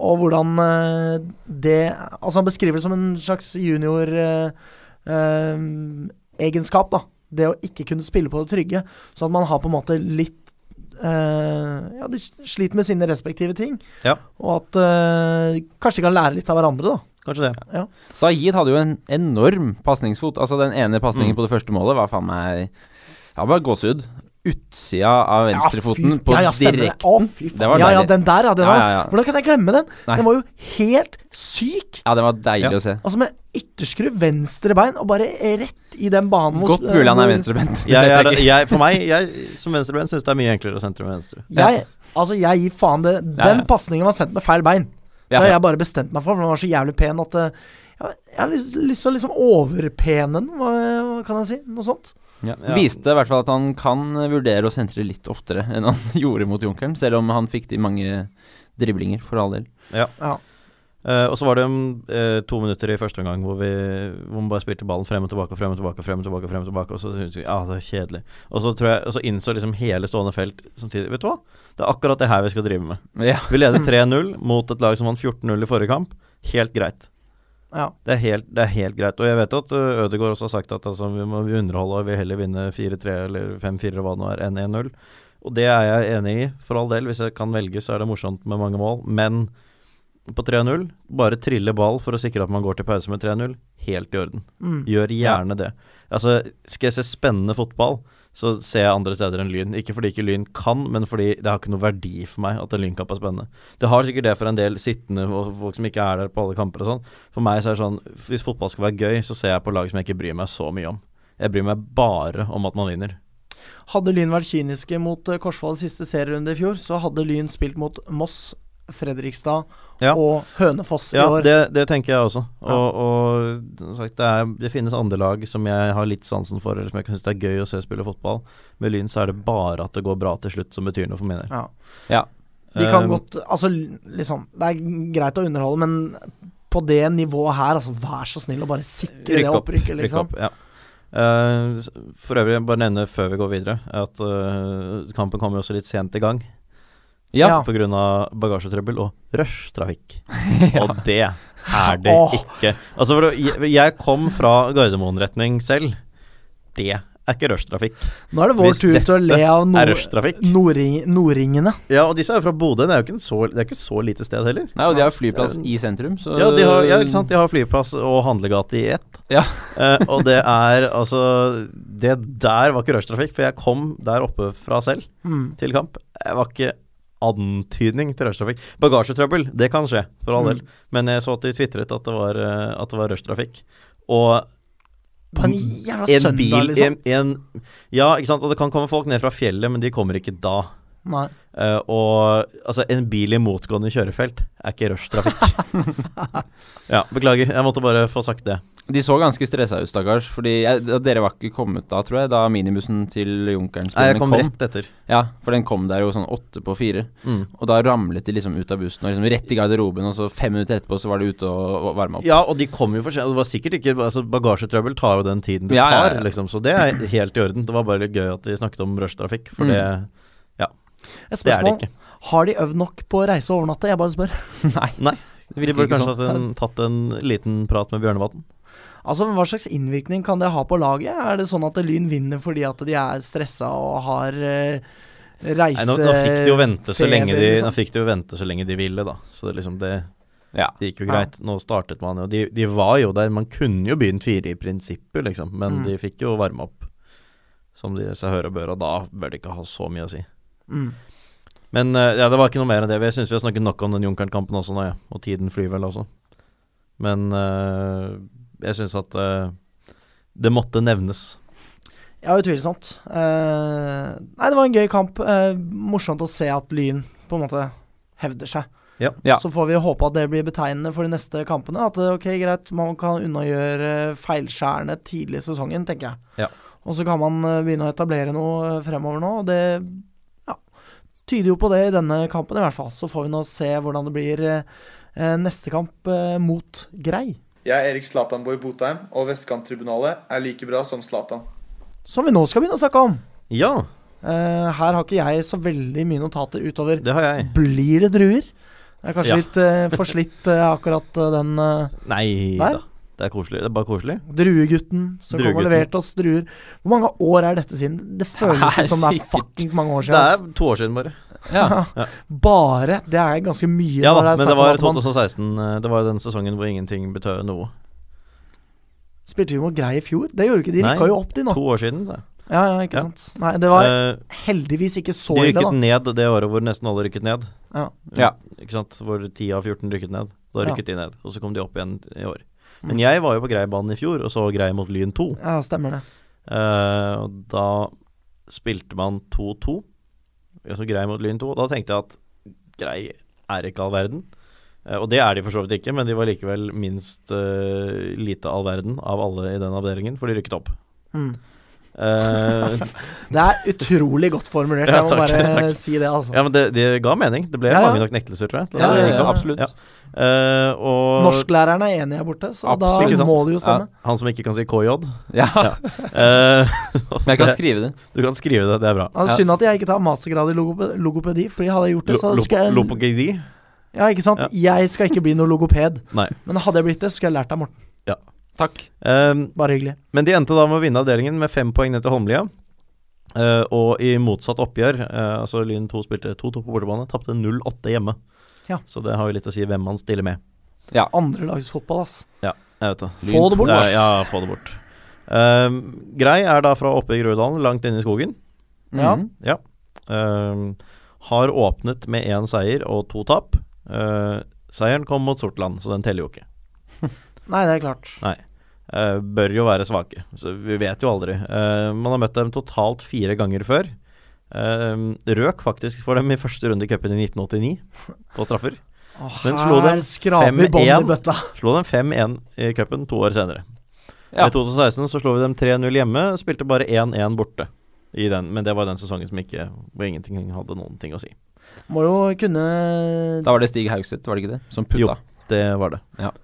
[SPEAKER 1] og hvordan eh, det Altså, han beskriver det som en slags junior-egenskap, da. Det å ikke kunne spille på det trygge. Så at man har på en måte litt eh, ja, de sliter med sine respektive ting.
[SPEAKER 2] Ja.
[SPEAKER 1] Og at eh, kanskje de kan lære litt av hverandre, da.
[SPEAKER 2] Kanskje det.
[SPEAKER 3] Sahid hadde jo en enorm pasningsfot. Altså, den ene pasningen
[SPEAKER 2] Mm.
[SPEAKER 3] på det første målet var faen meg Ja, bare gåsehud. Utsida av venstrefoten
[SPEAKER 1] Ja, fy-
[SPEAKER 3] på
[SPEAKER 1] ja, ja, stemmer det.
[SPEAKER 3] direkten.
[SPEAKER 1] Å, fy faen.
[SPEAKER 3] Det var
[SPEAKER 1] ja, ja,
[SPEAKER 3] deilig.
[SPEAKER 1] den der, ja. Den
[SPEAKER 3] Ja,
[SPEAKER 1] var,
[SPEAKER 3] ja, ja.
[SPEAKER 1] Hvordan kan jeg glemme den?
[SPEAKER 3] Nei.
[SPEAKER 1] Den var jo helt syk!
[SPEAKER 3] Ja, det var deilig
[SPEAKER 2] Ja.
[SPEAKER 3] å se.
[SPEAKER 1] Altså med ytterskru venstre bein, og bare rett i den banen hvor-
[SPEAKER 3] Godt mulig han er
[SPEAKER 1] hvor-
[SPEAKER 3] venstrebent. Det
[SPEAKER 2] Jeg,
[SPEAKER 3] vet
[SPEAKER 2] jeg,
[SPEAKER 3] jeg ikke.
[SPEAKER 2] jeg, for meg, jeg som venstrebein syns det er mye enklere å sentre med venstre.
[SPEAKER 1] Jeg, altså, jeg gir faen det. Den
[SPEAKER 3] Ja, ja.
[SPEAKER 1] pasningen var sendt med feil bein. Det har
[SPEAKER 3] Ja.
[SPEAKER 1] jeg bare bestemt meg for, for den var så jævlig pen at eh, jeg, jeg har lyst, lyst til å liksom overpene den, hva, hva kan jeg si? Noe sånt.
[SPEAKER 3] Ja.
[SPEAKER 2] Ja.
[SPEAKER 3] Viste i hvert fall at han kan vurdere å sentre litt oftere enn han gjorde mot Junkeren, selv om han fikk de mange driblinger, for all del.
[SPEAKER 1] Ja.
[SPEAKER 2] Eh, og så var det um, eh, to minutter i første omgang hvor vi hvor man bare spilte ballen frem og tilbake og frem og tilbake, frem og tilbake, frem og tilbake og så syntes vi ja, det er kjedelig. Og så tror jeg, og så innså liksom hele stående felt samtidig Vet du hva? Det er akkurat det her vi skal drive med.
[SPEAKER 3] Ja.
[SPEAKER 2] Vi leder 3-0 mot et lag som vant 14-0 i forrige kamp. Helt greit.
[SPEAKER 1] Ja.
[SPEAKER 2] Det er helt, det er helt greit. Og jeg vet jo at ø, Ødegaard også har sagt at altså, vi må vi underholde og vil heller vinne 4-3 eller 5-4 eller hva det nå er, enn 1-0. Og det er jeg enig i, for all del. Hvis jeg kan velge, så er det morsomt med mange mål. Men på 3-0, bare trille ball for å sikre at man går til pause med 3-0. Helt i orden.
[SPEAKER 1] Mm.
[SPEAKER 2] Gjør gjerne det. Altså, skal jeg se spennende fotball, så ser jeg andre steder enn Lyn. Ikke fordi ikke Lyn kan, men fordi det har ikke noe verdi for meg at en lynkamp er spennende. Det har sikkert det for en del sittende og folk som ikke er der på alle kamper og sånn. For meg så er det sånn, hvis fotball skal være gøy, så ser jeg på lag som jeg ikke bryr meg så mye om. Jeg bryr meg bare om at man vinner.
[SPEAKER 1] Hadde Lyn vært kyniske mot eh, Korsvolls siste serierunde i fjor, så hadde Lyn spilt mot Moss, Fredrikstad
[SPEAKER 2] Ja.
[SPEAKER 1] og Hønefoss
[SPEAKER 2] Ja,
[SPEAKER 1] i år.
[SPEAKER 2] det, det tenker jeg også. Og,
[SPEAKER 1] Ja.
[SPEAKER 2] og som sagt, det, er, det finnes andre lag som jeg har litt sansen for, eller som jeg syns det er gøy å se spille fotball. Med Lyn så er det bare at det går bra til slutt som betyr noe for min del.
[SPEAKER 1] Ja.
[SPEAKER 3] Ja.
[SPEAKER 1] De kan
[SPEAKER 2] Eh,
[SPEAKER 1] godt Altså, liksom Det er greit å underholde, men på det nivået her, altså, vær så snill å bare sikre det
[SPEAKER 2] Rykke opp,
[SPEAKER 1] opprykket, liksom.
[SPEAKER 2] Rykke opp, ja. Eh, s- for øvrig, bare nevne før vi går videre, at eh, kampen kommer jo også litt sent i gang.
[SPEAKER 3] Ja.
[SPEAKER 1] Ja.
[SPEAKER 2] pga. bagasjetrøbbel og rushtrafikk. Og det er det
[SPEAKER 1] Åh.
[SPEAKER 2] ikke. Altså, for det- jeg kom fra Gardermoen-retning selv. Det er ikke rushtrafikk.
[SPEAKER 1] Nå er det vår
[SPEAKER 2] Hvis
[SPEAKER 1] tur til å le av
[SPEAKER 2] er
[SPEAKER 1] nord,
[SPEAKER 2] rushtrafikk.
[SPEAKER 1] nordring, nordringene.
[SPEAKER 2] Ja, og disse er jo fra Bodø. Det er jo ikke, en så, det er ikke så lite sted heller.
[SPEAKER 3] Nei, og de har jo flyplass i sentrum, så
[SPEAKER 2] Ja, de har, ja, ikke sant? De har flyplass og handlegate i ett.
[SPEAKER 3] Ja.
[SPEAKER 2] Eh, og det er altså Det der var ikke rushtrafikk, for jeg kom der oppe fra selv
[SPEAKER 1] Mm.
[SPEAKER 2] til kamp. Det var ikke antydning til rushtrafikk. Bagasjetrøbbel, det kan skje, for all del.
[SPEAKER 1] Mm.
[SPEAKER 2] Men jeg så at de tvitret at det var, eh, at det var rushtrafikk. Og
[SPEAKER 1] På en jævla
[SPEAKER 2] en
[SPEAKER 1] søndag,
[SPEAKER 2] bil
[SPEAKER 1] liksom.
[SPEAKER 2] en, en, Ja, ikke sant. Og det kan komme folk ned fra fjellet, men de kommer ikke da.
[SPEAKER 1] Nei.
[SPEAKER 2] Eh, og altså, en bil i motgående kjørefelt er ikke rushtrafikk. ja, beklager. Jeg måtte bare få sagt det.
[SPEAKER 3] De så ganske stressa ut, stakkars. Fordi jeg, da- dere var ikke kommet da, tror jeg, da minibussen til Junkeren
[SPEAKER 2] Nei, jeg
[SPEAKER 3] kom.
[SPEAKER 2] kom rett etter.
[SPEAKER 3] Ja, for den kom der jo sånn åtte på fire.
[SPEAKER 2] Mm.
[SPEAKER 3] Og da ramlet de liksom ut av bussen, og liksom rett i garderoben, og så fem minutter etterpå så var de ute og og varma opp.
[SPEAKER 2] Ja, og de kom jo for sent. Det var sikkert ikke altså, Bagasjetrøbbel tar jo den tiden det
[SPEAKER 3] Ja, ja, ja.
[SPEAKER 2] tar, liksom. Så det er helt i orden. Det var bare litt gøy at de snakket om rushtrafikk, for
[SPEAKER 3] Mm.
[SPEAKER 2] det,
[SPEAKER 1] Et
[SPEAKER 2] det er det
[SPEAKER 1] spørsmål.
[SPEAKER 2] ikke.
[SPEAKER 1] har de øvd nok på å reise og overnatte? Jeg bare spør.
[SPEAKER 3] Det
[SPEAKER 2] De
[SPEAKER 3] virker
[SPEAKER 2] burde
[SPEAKER 3] ikke
[SPEAKER 2] kanskje
[SPEAKER 3] sånn.
[SPEAKER 2] hatt en, tatt en liten prat med Bjørnevatn.
[SPEAKER 1] Altså, Hva slags innvirkning kan det ha på laget? Er det sånn at Lyn vinner fordi at de er stressa og har eh, reise...
[SPEAKER 2] Nei, nå, nå fikk de jo vente så
[SPEAKER 1] feber,
[SPEAKER 2] lenge de,
[SPEAKER 1] liksom.
[SPEAKER 2] nå fikk de jo vente så lenge de ville, da. Så det liksom det
[SPEAKER 3] Ja.
[SPEAKER 2] Det gikk jo
[SPEAKER 1] Ja.
[SPEAKER 2] greit. Nå startet man jo de, de var jo der. Man kunne jo begynt fire i prinsippet, liksom, men
[SPEAKER 1] Mm.
[SPEAKER 2] de fikk jo varme opp som de seg hør og bør, og da bør det ikke ha så mye å si.
[SPEAKER 1] Mm.
[SPEAKER 2] Men eh, ja, det var ikke noe mer enn det. Jeg syns vi har snakket nok om den Junkeren-kampen også nå, ja. Og tiden flyr vel også. Men eh, jeg syns at eh, det måtte nevnes.
[SPEAKER 1] Ja, utvilsomt. Eh, nei, det var en gøy kamp. Eh, morsomt å se at Lyn på en måte hevder seg.
[SPEAKER 2] Ja.
[SPEAKER 3] Ja.
[SPEAKER 1] Så får vi håpe at det blir betegnende for de neste kampene. At eh, ok, greit, man kan unnagjøre feilskjærene tidlig i sesongen, tenker jeg.
[SPEAKER 2] Ja.
[SPEAKER 1] Og så kan man eh, begynne å etablere noe eh, fremover nå. Og det ja, tyder jo på det i denne kampen, i hvert fall. Så får vi nå se hvordan det blir eh, eh, neste kamp eh, mot Grei.
[SPEAKER 6] Jeg er Erik Zlatanborg Botheim, og Vestkanttribunalet er like bra som Zlatan.
[SPEAKER 1] Som vi nå skal begynne å snakke om.
[SPEAKER 2] Ja,
[SPEAKER 1] Eh, her har ikke jeg så veldig mye notater utover
[SPEAKER 2] det har jeg.
[SPEAKER 1] Blir det druer? Det er kanskje
[SPEAKER 2] Ja.
[SPEAKER 1] litt eh, forslitt eh, akkurat eh, den eh,
[SPEAKER 2] Nei
[SPEAKER 1] Der.
[SPEAKER 2] da. Det er koselig. Det er bare koselig.
[SPEAKER 1] druegutten som kom og
[SPEAKER 2] Druegutten.
[SPEAKER 1] leverte oss druer. Hvor mange år er dette siden? Det føles
[SPEAKER 3] Det er
[SPEAKER 1] ut som det er
[SPEAKER 3] sikkert-
[SPEAKER 1] fuckings mange år
[SPEAKER 2] Det
[SPEAKER 1] siden.
[SPEAKER 2] er to år siden, bare.
[SPEAKER 3] ja.
[SPEAKER 1] ass. Bare. Det er ganske mye.
[SPEAKER 2] Ja da,
[SPEAKER 1] når er
[SPEAKER 2] men det
[SPEAKER 1] snakk om
[SPEAKER 2] var
[SPEAKER 1] at man
[SPEAKER 2] 2016. eh, Det var jo den sesongen hvor ingenting betød noe.
[SPEAKER 1] Spilte vi mot Grei i fjor? Det gjorde ikke de. De
[SPEAKER 2] Nei,
[SPEAKER 1] rykka jo opp, de nå.
[SPEAKER 2] To år siden, sa jeg.
[SPEAKER 1] Ja, ja, ikke
[SPEAKER 2] Ja.
[SPEAKER 1] sant. Nei, det var
[SPEAKER 2] Eh,
[SPEAKER 1] heldigvis ikke så
[SPEAKER 2] de
[SPEAKER 1] ille,
[SPEAKER 2] rykket
[SPEAKER 1] da.
[SPEAKER 2] ned det året hvor nesten alle rykket ned.
[SPEAKER 1] Ja.
[SPEAKER 3] Ja.
[SPEAKER 2] Ikke sant? Hvor 10 av 14 rykket ned. Da
[SPEAKER 1] Ja.
[SPEAKER 2] rykket de ned, og så kom de opp igjen i år.
[SPEAKER 1] Mm.
[SPEAKER 2] Men jeg var jo på Greibanen i fjor og så Grei mot Lyn 2.
[SPEAKER 1] Ja, stemmer det.
[SPEAKER 2] Eh, og da spilte man 2-2. Altså Grei mot Lyn 2. Da tenkte jeg at Grei er ikke all verden. Eh, og det er de for så vidt ikke, men de var likevel minst eh, lite all verden av alle i den avdelingen, for de rykket opp.
[SPEAKER 1] Mm.
[SPEAKER 2] Eh,
[SPEAKER 1] Det er utrolig godt formulert,
[SPEAKER 2] Ja,
[SPEAKER 1] jeg må
[SPEAKER 2] takk,
[SPEAKER 1] bare
[SPEAKER 2] takk.
[SPEAKER 1] si det, altså.
[SPEAKER 2] ja, men det, det ga mening. Det ble
[SPEAKER 1] Ja, ja.
[SPEAKER 2] mange nok nektelser, tror jeg. til at
[SPEAKER 3] Ja,
[SPEAKER 2] det
[SPEAKER 3] ja,
[SPEAKER 2] gikk
[SPEAKER 3] ja,
[SPEAKER 2] opp.
[SPEAKER 3] absolutt.
[SPEAKER 2] Ja. Eh, og
[SPEAKER 1] Norsklæreren er enig her borte, så
[SPEAKER 2] Absolutt, ikke
[SPEAKER 1] da
[SPEAKER 2] sant?
[SPEAKER 1] må det jo stemme.
[SPEAKER 2] han som ikke kan si KJ.
[SPEAKER 3] Ja.
[SPEAKER 2] Eh,
[SPEAKER 3] Men jeg kan skrive det.
[SPEAKER 2] du kan skrive det, det er bra.
[SPEAKER 1] Ja,
[SPEAKER 3] Ja.
[SPEAKER 1] Altså, Synd at jeg ikke tar mastergrad i logope- logopedi, Fordi hadde jeg gjort det, så
[SPEAKER 2] Lo-
[SPEAKER 1] skulle
[SPEAKER 2] lo-
[SPEAKER 1] jeg
[SPEAKER 2] Lopogedi?
[SPEAKER 1] Ja, ikke sant? Jeg skal ikke bli noen logoped,
[SPEAKER 2] Nei.
[SPEAKER 1] men hadde jeg blitt det, så skulle jeg lært deg, Morten.
[SPEAKER 3] Takk.
[SPEAKER 2] Eh,
[SPEAKER 1] Bare hyggelig.
[SPEAKER 2] men de endte da med å vinne avdelingen med fem poeng ned til Holmlia. Eh, og i motsatt oppgjør, eh, altså Lyn 2 spilte 2-2 på bortebane, tapte 0-8 hjemme.
[SPEAKER 1] Ja.
[SPEAKER 2] Så det har jo litt å si hvem man stiller med.
[SPEAKER 1] Andrelagsfotball, ass.
[SPEAKER 2] Jeg vet det.
[SPEAKER 1] Få det bort,
[SPEAKER 2] Nei,
[SPEAKER 1] ass.
[SPEAKER 2] ja, få det bort. Eh, Grei er da fra oppe i Groruddalen, langt inne i skogen.
[SPEAKER 1] Ja.
[SPEAKER 3] Mhm.
[SPEAKER 2] Ja. Ehm, har åpnet med én seier og to tap. Eh, seieren kom mot Sortland, så den teller jo ikke.
[SPEAKER 1] Nei, det er klart.
[SPEAKER 2] Eh, bør jo være svake, så vi vet jo aldri. Eh, man har møtt dem totalt fire ganger før. Ehm, røk faktisk for dem i første runde i cupen i 1989, på straffer.
[SPEAKER 1] Å,
[SPEAKER 2] Men slo dem
[SPEAKER 1] her skraper vi bånd i
[SPEAKER 2] 5-1.
[SPEAKER 1] bøtta.
[SPEAKER 2] Slo dem 5-1 i cupen to år senere.
[SPEAKER 3] Ja.
[SPEAKER 2] I 2016 så slo vi dem 3-0 hjemme, spilte bare 1-1 borte. I den, men det var den sesongen som ikke, hvor ingenting hadde noen ting å si.
[SPEAKER 1] Må jo kunne
[SPEAKER 3] Da var det Stig Haugseth, var det ikke det? Som
[SPEAKER 2] Jo.
[SPEAKER 3] putta.
[SPEAKER 2] Det var det.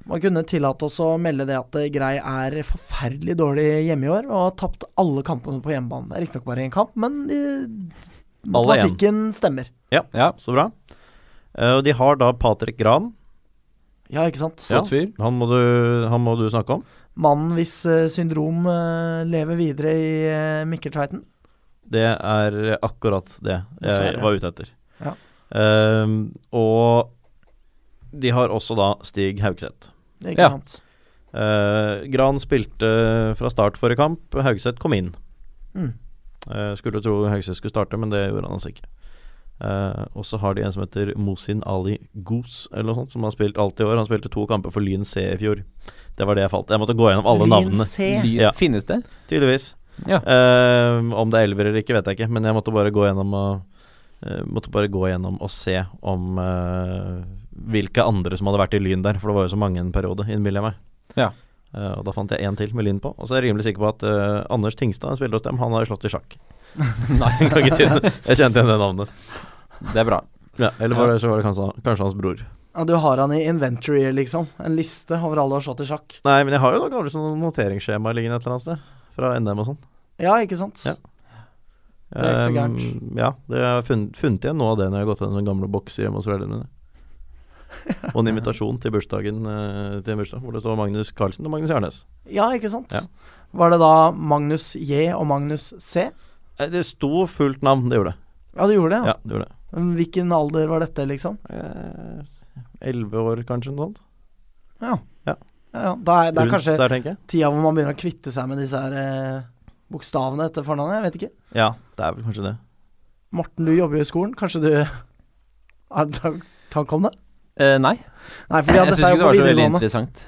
[SPEAKER 1] Må kunne tillate oss å melde det at eh, Grei er forferdelig dårlig hjemme i år, og har tapt alle kampene på hjemmebane. Det er riktignok bare én kamp, men de
[SPEAKER 2] Alle én.
[SPEAKER 1] eh, Matematikken stemmer.
[SPEAKER 3] Ja,
[SPEAKER 2] Så bra. Eh, og de har da Patrick Gran.
[SPEAKER 1] Ja, ikke sant?
[SPEAKER 2] Ja.
[SPEAKER 3] flott fyr.
[SPEAKER 2] Han må du, han må du snakke om.
[SPEAKER 1] Mannen hvis eh, syndrom eh, lever videre i eh, Mikkeltveiten.
[SPEAKER 2] Det er akkurat det jeg
[SPEAKER 1] Dessverre.
[SPEAKER 2] var ute etter.
[SPEAKER 1] Ja.
[SPEAKER 2] Ehm, og de har også da Stig Haugseth.
[SPEAKER 1] Ikke
[SPEAKER 3] Ja.
[SPEAKER 1] sant?
[SPEAKER 2] Eh, Gran spilte fra start forrige kamp, Haugseth kom inn.
[SPEAKER 1] Mm.
[SPEAKER 2] Eh, skulle tro Haugseth skulle starte, men det gjorde han altså ikke. Eh, og så har de en som heter Mosin Ali Goos, eller noe sånt, som har spilt alt i år. Han spilte to kamper for Lyn C i fjor. Det var det jeg falt Jeg måtte gå gjennom alle
[SPEAKER 1] Lyn
[SPEAKER 2] navnene.
[SPEAKER 1] C.
[SPEAKER 3] Lyn
[SPEAKER 2] Ja.
[SPEAKER 3] finnes det?
[SPEAKER 2] Tydeligvis.
[SPEAKER 3] Ja.
[SPEAKER 2] Eh, om det er elver eller ikke, vet jeg ikke, men jeg måtte bare gå gjennom og eh, Måtte bare gå gjennom og se om eh, hvilke andre som hadde vært i Lyn der, for det var jo så mange en periode, innbiller jeg meg.
[SPEAKER 3] Ja.
[SPEAKER 2] Eh, og da fant jeg én til med Lyn på, og så er jeg rimelig sikker på at eh, Anders Tingstad, en spiller hos dem, han har jo slått i sjakk.
[SPEAKER 3] Nice.
[SPEAKER 2] jeg kjente igjen det navnet.
[SPEAKER 3] Det er bra.
[SPEAKER 2] Ja, eller var det, så var det kanskje, kanskje hans bror.
[SPEAKER 1] Ja, du har han i inventory, liksom. En liste over alle du har slått i sjakk.
[SPEAKER 2] Nei, men jeg har jo noen gamle sånne noteringsskjemaer liggende et eller annet sted, fra NM og sånn.
[SPEAKER 1] Ja, ikke sant?
[SPEAKER 2] Ja.
[SPEAKER 1] Det er ikke så gærent.
[SPEAKER 2] Um, ja, det har jeg funnet, funnet igjen noe av det når jeg har gått til en sånn gamle boks hjemme hos foreldrene mine. Og en invitasjon til bursdagen eh, til en bursdag hvor det står Magnus Carlsen og Magnus Jernes.
[SPEAKER 1] Ja, ikke sant?
[SPEAKER 2] Ja.
[SPEAKER 1] Var det da Magnus J og Magnus C?
[SPEAKER 2] Eh, Det sto fullt navn, det gjorde det.
[SPEAKER 1] Ja, du gjorde det?
[SPEAKER 2] Ja,
[SPEAKER 1] Ja.
[SPEAKER 2] det gjorde det.
[SPEAKER 1] Men Hvilken alder var dette, liksom?
[SPEAKER 2] Eh, Elleve år, kanskje, noe sånt.
[SPEAKER 1] Ja.
[SPEAKER 2] Ja.
[SPEAKER 1] ja, ja. Da er, det er
[SPEAKER 2] Rundt
[SPEAKER 1] kanskje
[SPEAKER 2] der, tenker jeg.
[SPEAKER 1] tida hvor man begynner å kvitte seg med disse her eh, bokstavene etter fornavnet. Jeg vet ikke.
[SPEAKER 2] Ja, det er vel kanskje det.
[SPEAKER 1] Morten, du jobber jo i skolen. Kanskje du har tan- tanke om det?
[SPEAKER 3] Eh, nei,
[SPEAKER 1] Nei, for vi
[SPEAKER 3] jeg
[SPEAKER 1] hadde
[SPEAKER 3] syns
[SPEAKER 1] dette
[SPEAKER 3] ikke
[SPEAKER 1] jo
[SPEAKER 3] det
[SPEAKER 1] på
[SPEAKER 3] var så veldig
[SPEAKER 1] videregående.
[SPEAKER 3] interessant.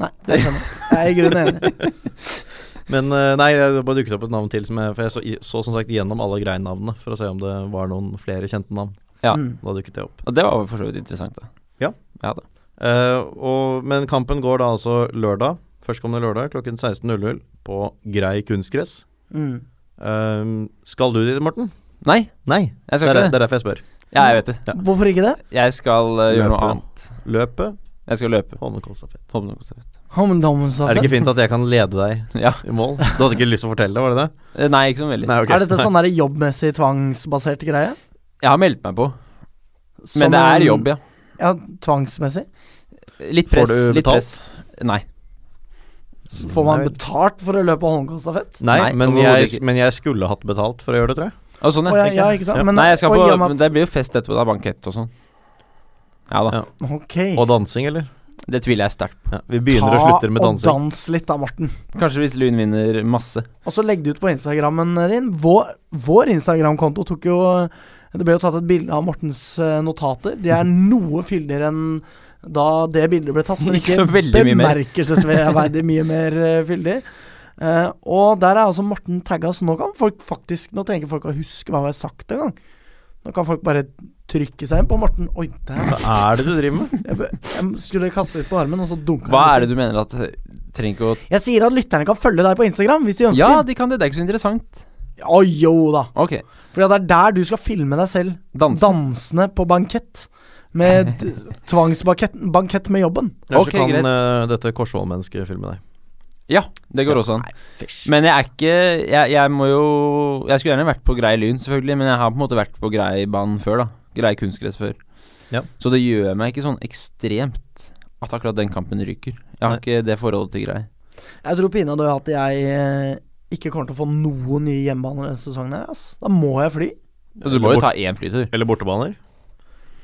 [SPEAKER 1] Nei, det skjønner jeg. Jeg er i grunnen enig.
[SPEAKER 2] Men eh, nei, det bare dukket opp et navn til, som jeg, for jeg så, i- så som sagt gjennom alle greinavnene for å se om det var noen flere kjente navn.
[SPEAKER 3] Ja.
[SPEAKER 1] Mm.
[SPEAKER 2] Da dukket det opp.
[SPEAKER 3] Og det var for så vidt interessant, da.
[SPEAKER 2] Ja.
[SPEAKER 3] ja da.
[SPEAKER 2] Eh, og, men kampen går da altså lørdag. Førstkommende lørdag klokken 16.00 på Grei kunstgress.
[SPEAKER 1] Mm.
[SPEAKER 2] Eh, skal du dit, Morten?
[SPEAKER 3] Nei,
[SPEAKER 2] Nei.
[SPEAKER 3] jeg
[SPEAKER 2] Det er,
[SPEAKER 3] skal ikke
[SPEAKER 2] det
[SPEAKER 3] det.
[SPEAKER 2] er derfor jeg spør.
[SPEAKER 3] Ja, jeg vet det.
[SPEAKER 1] Hvorfor ikke det?
[SPEAKER 3] Jeg skal eh, gjøre noe
[SPEAKER 2] Løpe.
[SPEAKER 3] annet.
[SPEAKER 2] Løpet,
[SPEAKER 3] Jeg skal løpe.
[SPEAKER 2] Holmenkollstafett.
[SPEAKER 3] Håper noe så fett.
[SPEAKER 2] Er det
[SPEAKER 1] Homdomstafett?
[SPEAKER 2] ikke fint at jeg kan lede deg
[SPEAKER 3] Ja.
[SPEAKER 2] i mål? Du hadde ikke lyst til å fortelle det, var det det?
[SPEAKER 3] Eh, Nei, ikke sånn veldig.
[SPEAKER 2] Nei, ok.
[SPEAKER 1] Er dette sånn der jobbmessig tvangsbasert greie?
[SPEAKER 3] Jeg har meldt meg på,
[SPEAKER 1] Som
[SPEAKER 3] men det er
[SPEAKER 1] en-
[SPEAKER 3] jobb, ja.
[SPEAKER 1] Ja, tvangsmessig.
[SPEAKER 3] Litt
[SPEAKER 2] Får
[SPEAKER 3] press.
[SPEAKER 2] du
[SPEAKER 3] litt
[SPEAKER 2] betalt?
[SPEAKER 3] press. Nei.
[SPEAKER 1] Så får man
[SPEAKER 2] Nei.
[SPEAKER 1] betalt for å løpe Holmenkollstafett?
[SPEAKER 2] Nei,
[SPEAKER 3] Nei,
[SPEAKER 2] men,
[SPEAKER 3] overhodet
[SPEAKER 2] jeg,
[SPEAKER 3] ikke.
[SPEAKER 2] men jeg skulle hatt betalt for å gjøre det, tror jeg.
[SPEAKER 3] Å, sånn,
[SPEAKER 1] Å ja,
[SPEAKER 3] ja.
[SPEAKER 1] ja, ikke sant?
[SPEAKER 2] Ja.
[SPEAKER 1] Men,
[SPEAKER 3] Nei, jeg skal
[SPEAKER 1] og
[SPEAKER 3] på
[SPEAKER 1] i og med
[SPEAKER 3] men Det blir jo fest etterpå, da. Bankett og sånn. Ja da.
[SPEAKER 2] Ja.
[SPEAKER 1] at- Ok.
[SPEAKER 2] Og dansing, eller?
[SPEAKER 3] Det tviler jeg sterkt på.
[SPEAKER 2] Ja, vi begynner og slutter med
[SPEAKER 1] Ta og
[SPEAKER 2] dansing.
[SPEAKER 1] dans litt da, Morten.
[SPEAKER 3] Kanskje hvis Lyn vinner masse.
[SPEAKER 1] Og så legg det ut på Instagrammen eh, din. Vår, vår Instagram-konto tok jo eh, Det ble jo tatt et bilde av Mortens eh, notater. De er noe fyldigere enn da det bildet ble tatt, men
[SPEAKER 3] Ikke
[SPEAKER 1] ikke,
[SPEAKER 3] så veldig mye mer.
[SPEAKER 1] bemerkelsesverdig mye mer eh, fyldig. Eh, og der er altså Morten tagga, så nå kan folk faktisk Nå trenger ikke folk å huske hva vi har sagt engang. Nå kan folk bare trykke seg inn på Morten. Oi, der
[SPEAKER 2] Hva er det du driver med?
[SPEAKER 1] jeg, bø- jeg skulle kaste litt på armen, og så dunka
[SPEAKER 3] Hva er det du mener at eh, Trenger ikke å
[SPEAKER 1] Jeg sier at lytterne kan følge deg på Instagram hvis de ønsker.
[SPEAKER 3] Ja, de kan det. Det er ikke så interessant.
[SPEAKER 1] Å, jo da.
[SPEAKER 3] Ok.
[SPEAKER 1] For det er der du skal filme deg selv
[SPEAKER 3] Danse.
[SPEAKER 1] dansende på bankett. Med d- tvangsbankett bankett med jobben.
[SPEAKER 2] Ellers
[SPEAKER 3] Ok,
[SPEAKER 2] så kan
[SPEAKER 3] greit.
[SPEAKER 2] eh, dette Korsvoll-mennesket filme deg.
[SPEAKER 3] ja, det går også an.
[SPEAKER 1] Fysj.
[SPEAKER 3] Men jeg er ikke jeg, jeg må jo Jeg skulle gjerne vært på grei lyn, selvfølgelig, men jeg har på en måte vært på grei banen før, da. Grei kunstgress før.
[SPEAKER 2] Ja.
[SPEAKER 3] Så det gjør meg ikke sånn ekstremt at akkurat den kampen ryker. Jeg har
[SPEAKER 2] Nei.
[SPEAKER 3] ikke det forholdet til grei.
[SPEAKER 1] Jeg tror pinadø at jeg eh, ikke kommer til å få noen nye hjemmebaner denne sesongen. her ass. Da må jeg fly.
[SPEAKER 3] Så du må jo ta én flytur.
[SPEAKER 2] Eller bortebaner.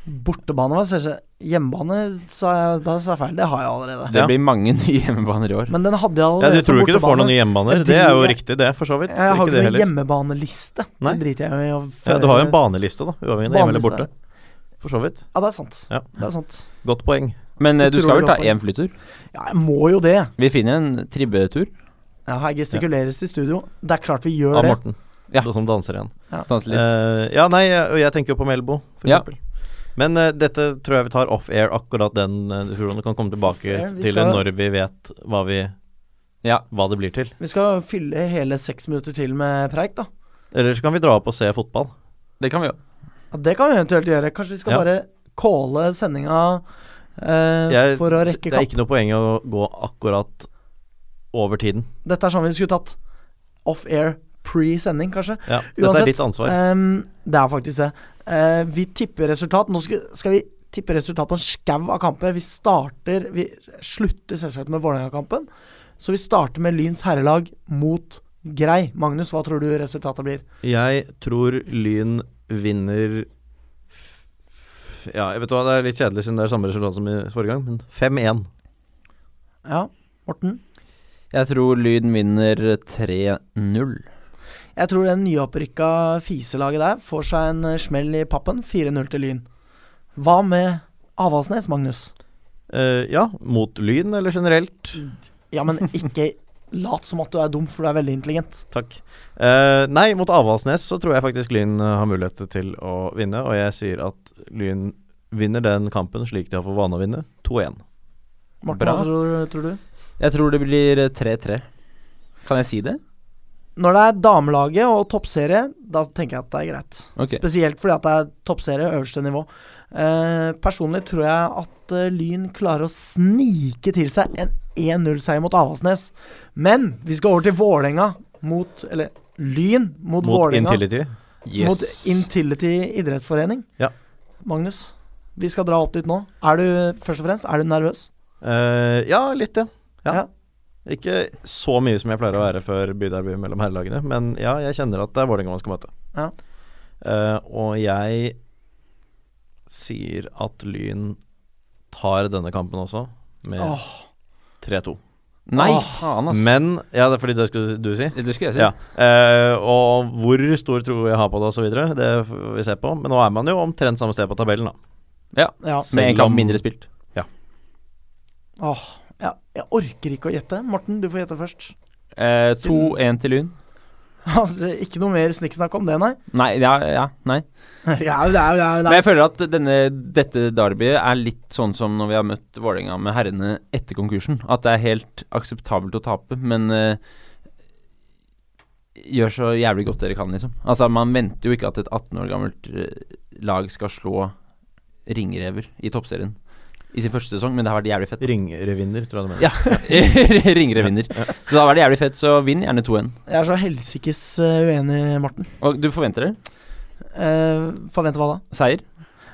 [SPEAKER 1] Bortebane, hva sier jeg? Hjemmebane, sa jeg, da sa jeg feil. Det har jeg allerede.
[SPEAKER 3] Det
[SPEAKER 2] Ja.
[SPEAKER 3] blir mange nye hjemmebaner i år.
[SPEAKER 1] Men den hadde jeg
[SPEAKER 2] Ja,
[SPEAKER 1] allerede
[SPEAKER 2] Du tror jo ikke du får
[SPEAKER 1] bortebane.
[SPEAKER 2] noen nye hjemmebaner?
[SPEAKER 1] Jeg
[SPEAKER 2] Det er jo
[SPEAKER 1] driter-
[SPEAKER 2] riktig, det, for så vidt.
[SPEAKER 1] Jeg har
[SPEAKER 2] Ikke
[SPEAKER 1] ikke
[SPEAKER 2] det
[SPEAKER 1] noen
[SPEAKER 2] heller.
[SPEAKER 1] hjemmebaneliste.
[SPEAKER 2] Nei.
[SPEAKER 1] Det driter jeg i. å
[SPEAKER 2] Ja, du har jo en
[SPEAKER 1] føre-
[SPEAKER 2] baneliste, da. Uavhengig av hjemme eller borte.
[SPEAKER 1] Baneliste.
[SPEAKER 2] For så vidt.
[SPEAKER 1] Ja, det er sant.
[SPEAKER 2] Ja.
[SPEAKER 1] Det er sant.
[SPEAKER 2] Godt poeng.
[SPEAKER 3] Men eh,
[SPEAKER 1] Jeg
[SPEAKER 3] du
[SPEAKER 1] tror
[SPEAKER 3] skal
[SPEAKER 1] det
[SPEAKER 3] vel ta
[SPEAKER 1] går på en.
[SPEAKER 3] én flytur?
[SPEAKER 1] Ja, jeg må jo det.
[SPEAKER 3] Vi finner en tribbetur.
[SPEAKER 1] Ja, her gestikuleres det i studio. Det er klart vi gjør
[SPEAKER 2] Av
[SPEAKER 1] det.
[SPEAKER 2] Morten,
[SPEAKER 3] Ja.
[SPEAKER 2] det som danser igjen.
[SPEAKER 3] Danse litt.
[SPEAKER 2] Eh, ja, nei, jeg, og jeg tenker jo på Melbo, for
[SPEAKER 3] Ja.
[SPEAKER 2] eksempel. Men eh, dette tror jeg vi tar off-air, akkurat den eh, diskusjonen. Kan komme tilbake
[SPEAKER 1] Off-air, vi
[SPEAKER 2] til det
[SPEAKER 1] skal-
[SPEAKER 2] når vi vet hva, vi,
[SPEAKER 3] Ja.
[SPEAKER 2] hva det blir til.
[SPEAKER 1] Vi skal fylle hele seks minutter til med preik, da.
[SPEAKER 2] Eller så kan vi dra opp og se fotball.
[SPEAKER 3] Det kan vi jo.
[SPEAKER 1] Ja, det kan vi eventuelt gjøre. Kanskje vi skal
[SPEAKER 2] Ja.
[SPEAKER 1] bare calle sendinga eh,
[SPEAKER 2] Jeg,
[SPEAKER 1] for å
[SPEAKER 2] det
[SPEAKER 1] rekke
[SPEAKER 2] er
[SPEAKER 1] kamp.
[SPEAKER 2] ikke noe poeng å gå akkurat over tiden.
[SPEAKER 1] Dette er sånn vi skulle tatt off air pre-sending, kanskje.
[SPEAKER 2] Ja, dette
[SPEAKER 1] Uansett,
[SPEAKER 2] er ditt ansvar.
[SPEAKER 1] Ehm, det er faktisk det. Eh, vi tipper resultat. Nå skal, skal vi tippe resultat på en skau av kamper. Vi starter Vi slutter selvsagt med Vålerenga-kampen. Så vi starter med Lyns herrelag mot Grei. Magnus, hva tror du resultatet blir?
[SPEAKER 2] Jeg tror Lyn vinner f- f- Ja, jeg vet hva, det er litt kjedelig siden det er samme resultat som i forrige gang, men 5-1.
[SPEAKER 1] Ja, Morten?
[SPEAKER 3] Jeg tror Lyn vinner 3-0.
[SPEAKER 1] Jeg tror det nyopprykka fiselaget der får seg en eh, smell i pappen. 4-0 til Lyn. Hva med Avaldsnes, Magnus?
[SPEAKER 2] Eh, ja, mot Lyn eller generelt.
[SPEAKER 1] Mm. Ja, men ikke lat som at du er dum, for du er veldig intelligent.
[SPEAKER 2] Takk. Eh, nei, mot Avaldsnes så tror jeg faktisk Lyn eh, har mulighet til å vinne, og jeg sier at Lyn vinner den kampen slik de har for vane å vinne, 2-1.
[SPEAKER 1] Morten,
[SPEAKER 3] Bra.
[SPEAKER 1] hva tror, tror du?
[SPEAKER 3] Jeg tror det blir 3-3. Kan jeg si det?
[SPEAKER 1] Når det er damelaget og toppserie, da tenker jeg at det er greit.
[SPEAKER 3] Ok.
[SPEAKER 1] Spesielt fordi at det er toppserie, øverste nivå. Eh, personlig tror jeg at eh, Lyn klarer å snike til seg en 1-0-seier mot Avaldsnes. Men vi skal over til Vålerenga mot Eller Lyn mot,
[SPEAKER 2] Mot
[SPEAKER 1] Vålerenga.
[SPEAKER 2] Intility.
[SPEAKER 1] Mot Intility idrettsforening.
[SPEAKER 2] Ja.
[SPEAKER 1] Magnus, vi skal dra opp dit nå. Er du først og fremst, er du nervøs?
[SPEAKER 2] Eh, ja, litt, ja. ja.
[SPEAKER 1] Ja.
[SPEAKER 2] Ikke så mye som jeg pleier å være før byderby mellom herrelagene, men ja, jeg kjenner at det er Vålerenga man skal møte.
[SPEAKER 1] Ja.
[SPEAKER 2] Eh, og jeg sier at Lyn tar denne kampen også, med
[SPEAKER 1] Åh.
[SPEAKER 2] 3-2.
[SPEAKER 3] Nei,
[SPEAKER 1] Åh,
[SPEAKER 3] faen, ass.
[SPEAKER 2] Men Ja, det er fordi det skulle du si?
[SPEAKER 3] Det skulle jeg si.
[SPEAKER 2] Ja. Eh, og hvor stor tro jeg har på det, og så videre det får vi se på. Men nå er man jo omtrent samme sted på tabellen, da.
[SPEAKER 3] Ja.
[SPEAKER 1] Ja.
[SPEAKER 2] Selv
[SPEAKER 3] Med en kamp
[SPEAKER 2] om-
[SPEAKER 3] mindre spilt.
[SPEAKER 1] Åh, ja. Jeg orker ikke å gjette. Morten, du får gjette først.
[SPEAKER 3] Eh, 2-1 til Lyn.
[SPEAKER 1] Altså, ikke noe mer snikksnakk om det, nei.
[SPEAKER 3] Nei, ja, ja, nei.
[SPEAKER 1] ja, ja, ja, ja.
[SPEAKER 3] Men jeg føler at denne, dette derbyet er litt sånn som når vi har møtt Vålerenga med herrene etter konkursen. At det er helt akseptabelt å tape, men eh, gjør så jævlig godt dere kan, liksom. Altså, man venter jo ikke at et 18 år gammelt eh, lag skal slå ringrever i toppserien i sin første sesong, men det har vært jævlig fett.
[SPEAKER 2] Ringrevinner, tror jeg du mener.
[SPEAKER 3] Ja, ringrevinner. Så det har vært jævlig fett, så vinn gjerne 2-1.
[SPEAKER 1] Jeg er så helsikes eh, uenig, Morten.
[SPEAKER 3] Og du forventer det?
[SPEAKER 1] Uh, forventer hva da?
[SPEAKER 3] Seier?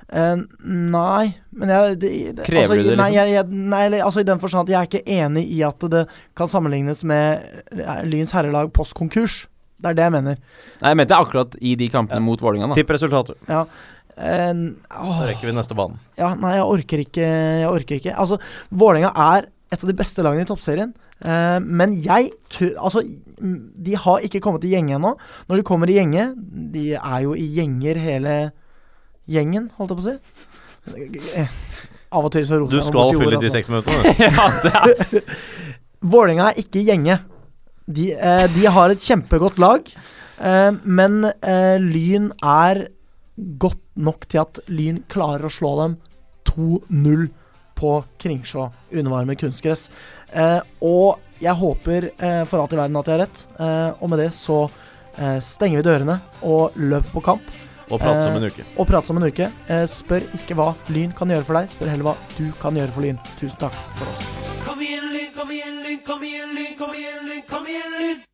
[SPEAKER 1] Eh, nei, men jeg det- det-
[SPEAKER 3] Krever
[SPEAKER 1] altså,
[SPEAKER 3] du det,
[SPEAKER 1] Nei,
[SPEAKER 3] liksom?
[SPEAKER 1] jeg, jeg, nei eller, altså, i den forstand at jeg er ikke enig i at det kan sammenlignes med eh, Lyns herrelag post konkurs. Det er det jeg mener.
[SPEAKER 3] Nei, jeg mente akkurat i de kampene
[SPEAKER 2] Ja.
[SPEAKER 3] mot Vålerenga, da.
[SPEAKER 2] Tipp resultatet.
[SPEAKER 1] Eh, åh,
[SPEAKER 2] Da rekker vi neste banen.
[SPEAKER 1] ja, nei, jeg orker ikke. Jeg orker ikke. Altså, Vålerenga er et av de beste lagene i toppserien. Eh, men jeg tør Altså, mm, de har ikke kommet i gjenge ennå. Når de kommer i gjenge De er jo i gjenger hele gjengen, holdt jeg på å si. Eh, Av og til så roter
[SPEAKER 2] Du
[SPEAKER 1] jeg meg
[SPEAKER 2] skal
[SPEAKER 1] bort i ord,
[SPEAKER 2] fylle de
[SPEAKER 1] altså.
[SPEAKER 2] seks minuttene. du.
[SPEAKER 3] ja, det er
[SPEAKER 1] Vålerenga er ikke i gjenge. De, eh, de har et kjempegodt lag, eh, men eh, Lyn er godt nok til at Lyn klarer å slå dem 2-0 på Kringsjå undervarme kunstgress. Eh, og jeg håper eh, for alt i verden at jeg har rett, eh, og med det så eh, stenger vi dørene og løper på kamp.
[SPEAKER 2] Og prate om en uke.
[SPEAKER 1] Og prates om en uke. Eh, spør ikke hva Lyn kan gjøre for deg, spør heller hva du kan gjøre for Lyn. Tusen takk for oss.
[SPEAKER 7] Kom igjen, lyn, kom igjen, lyn, kom igjen, lyn, kom igjen, lyn, kom igjen, lyn.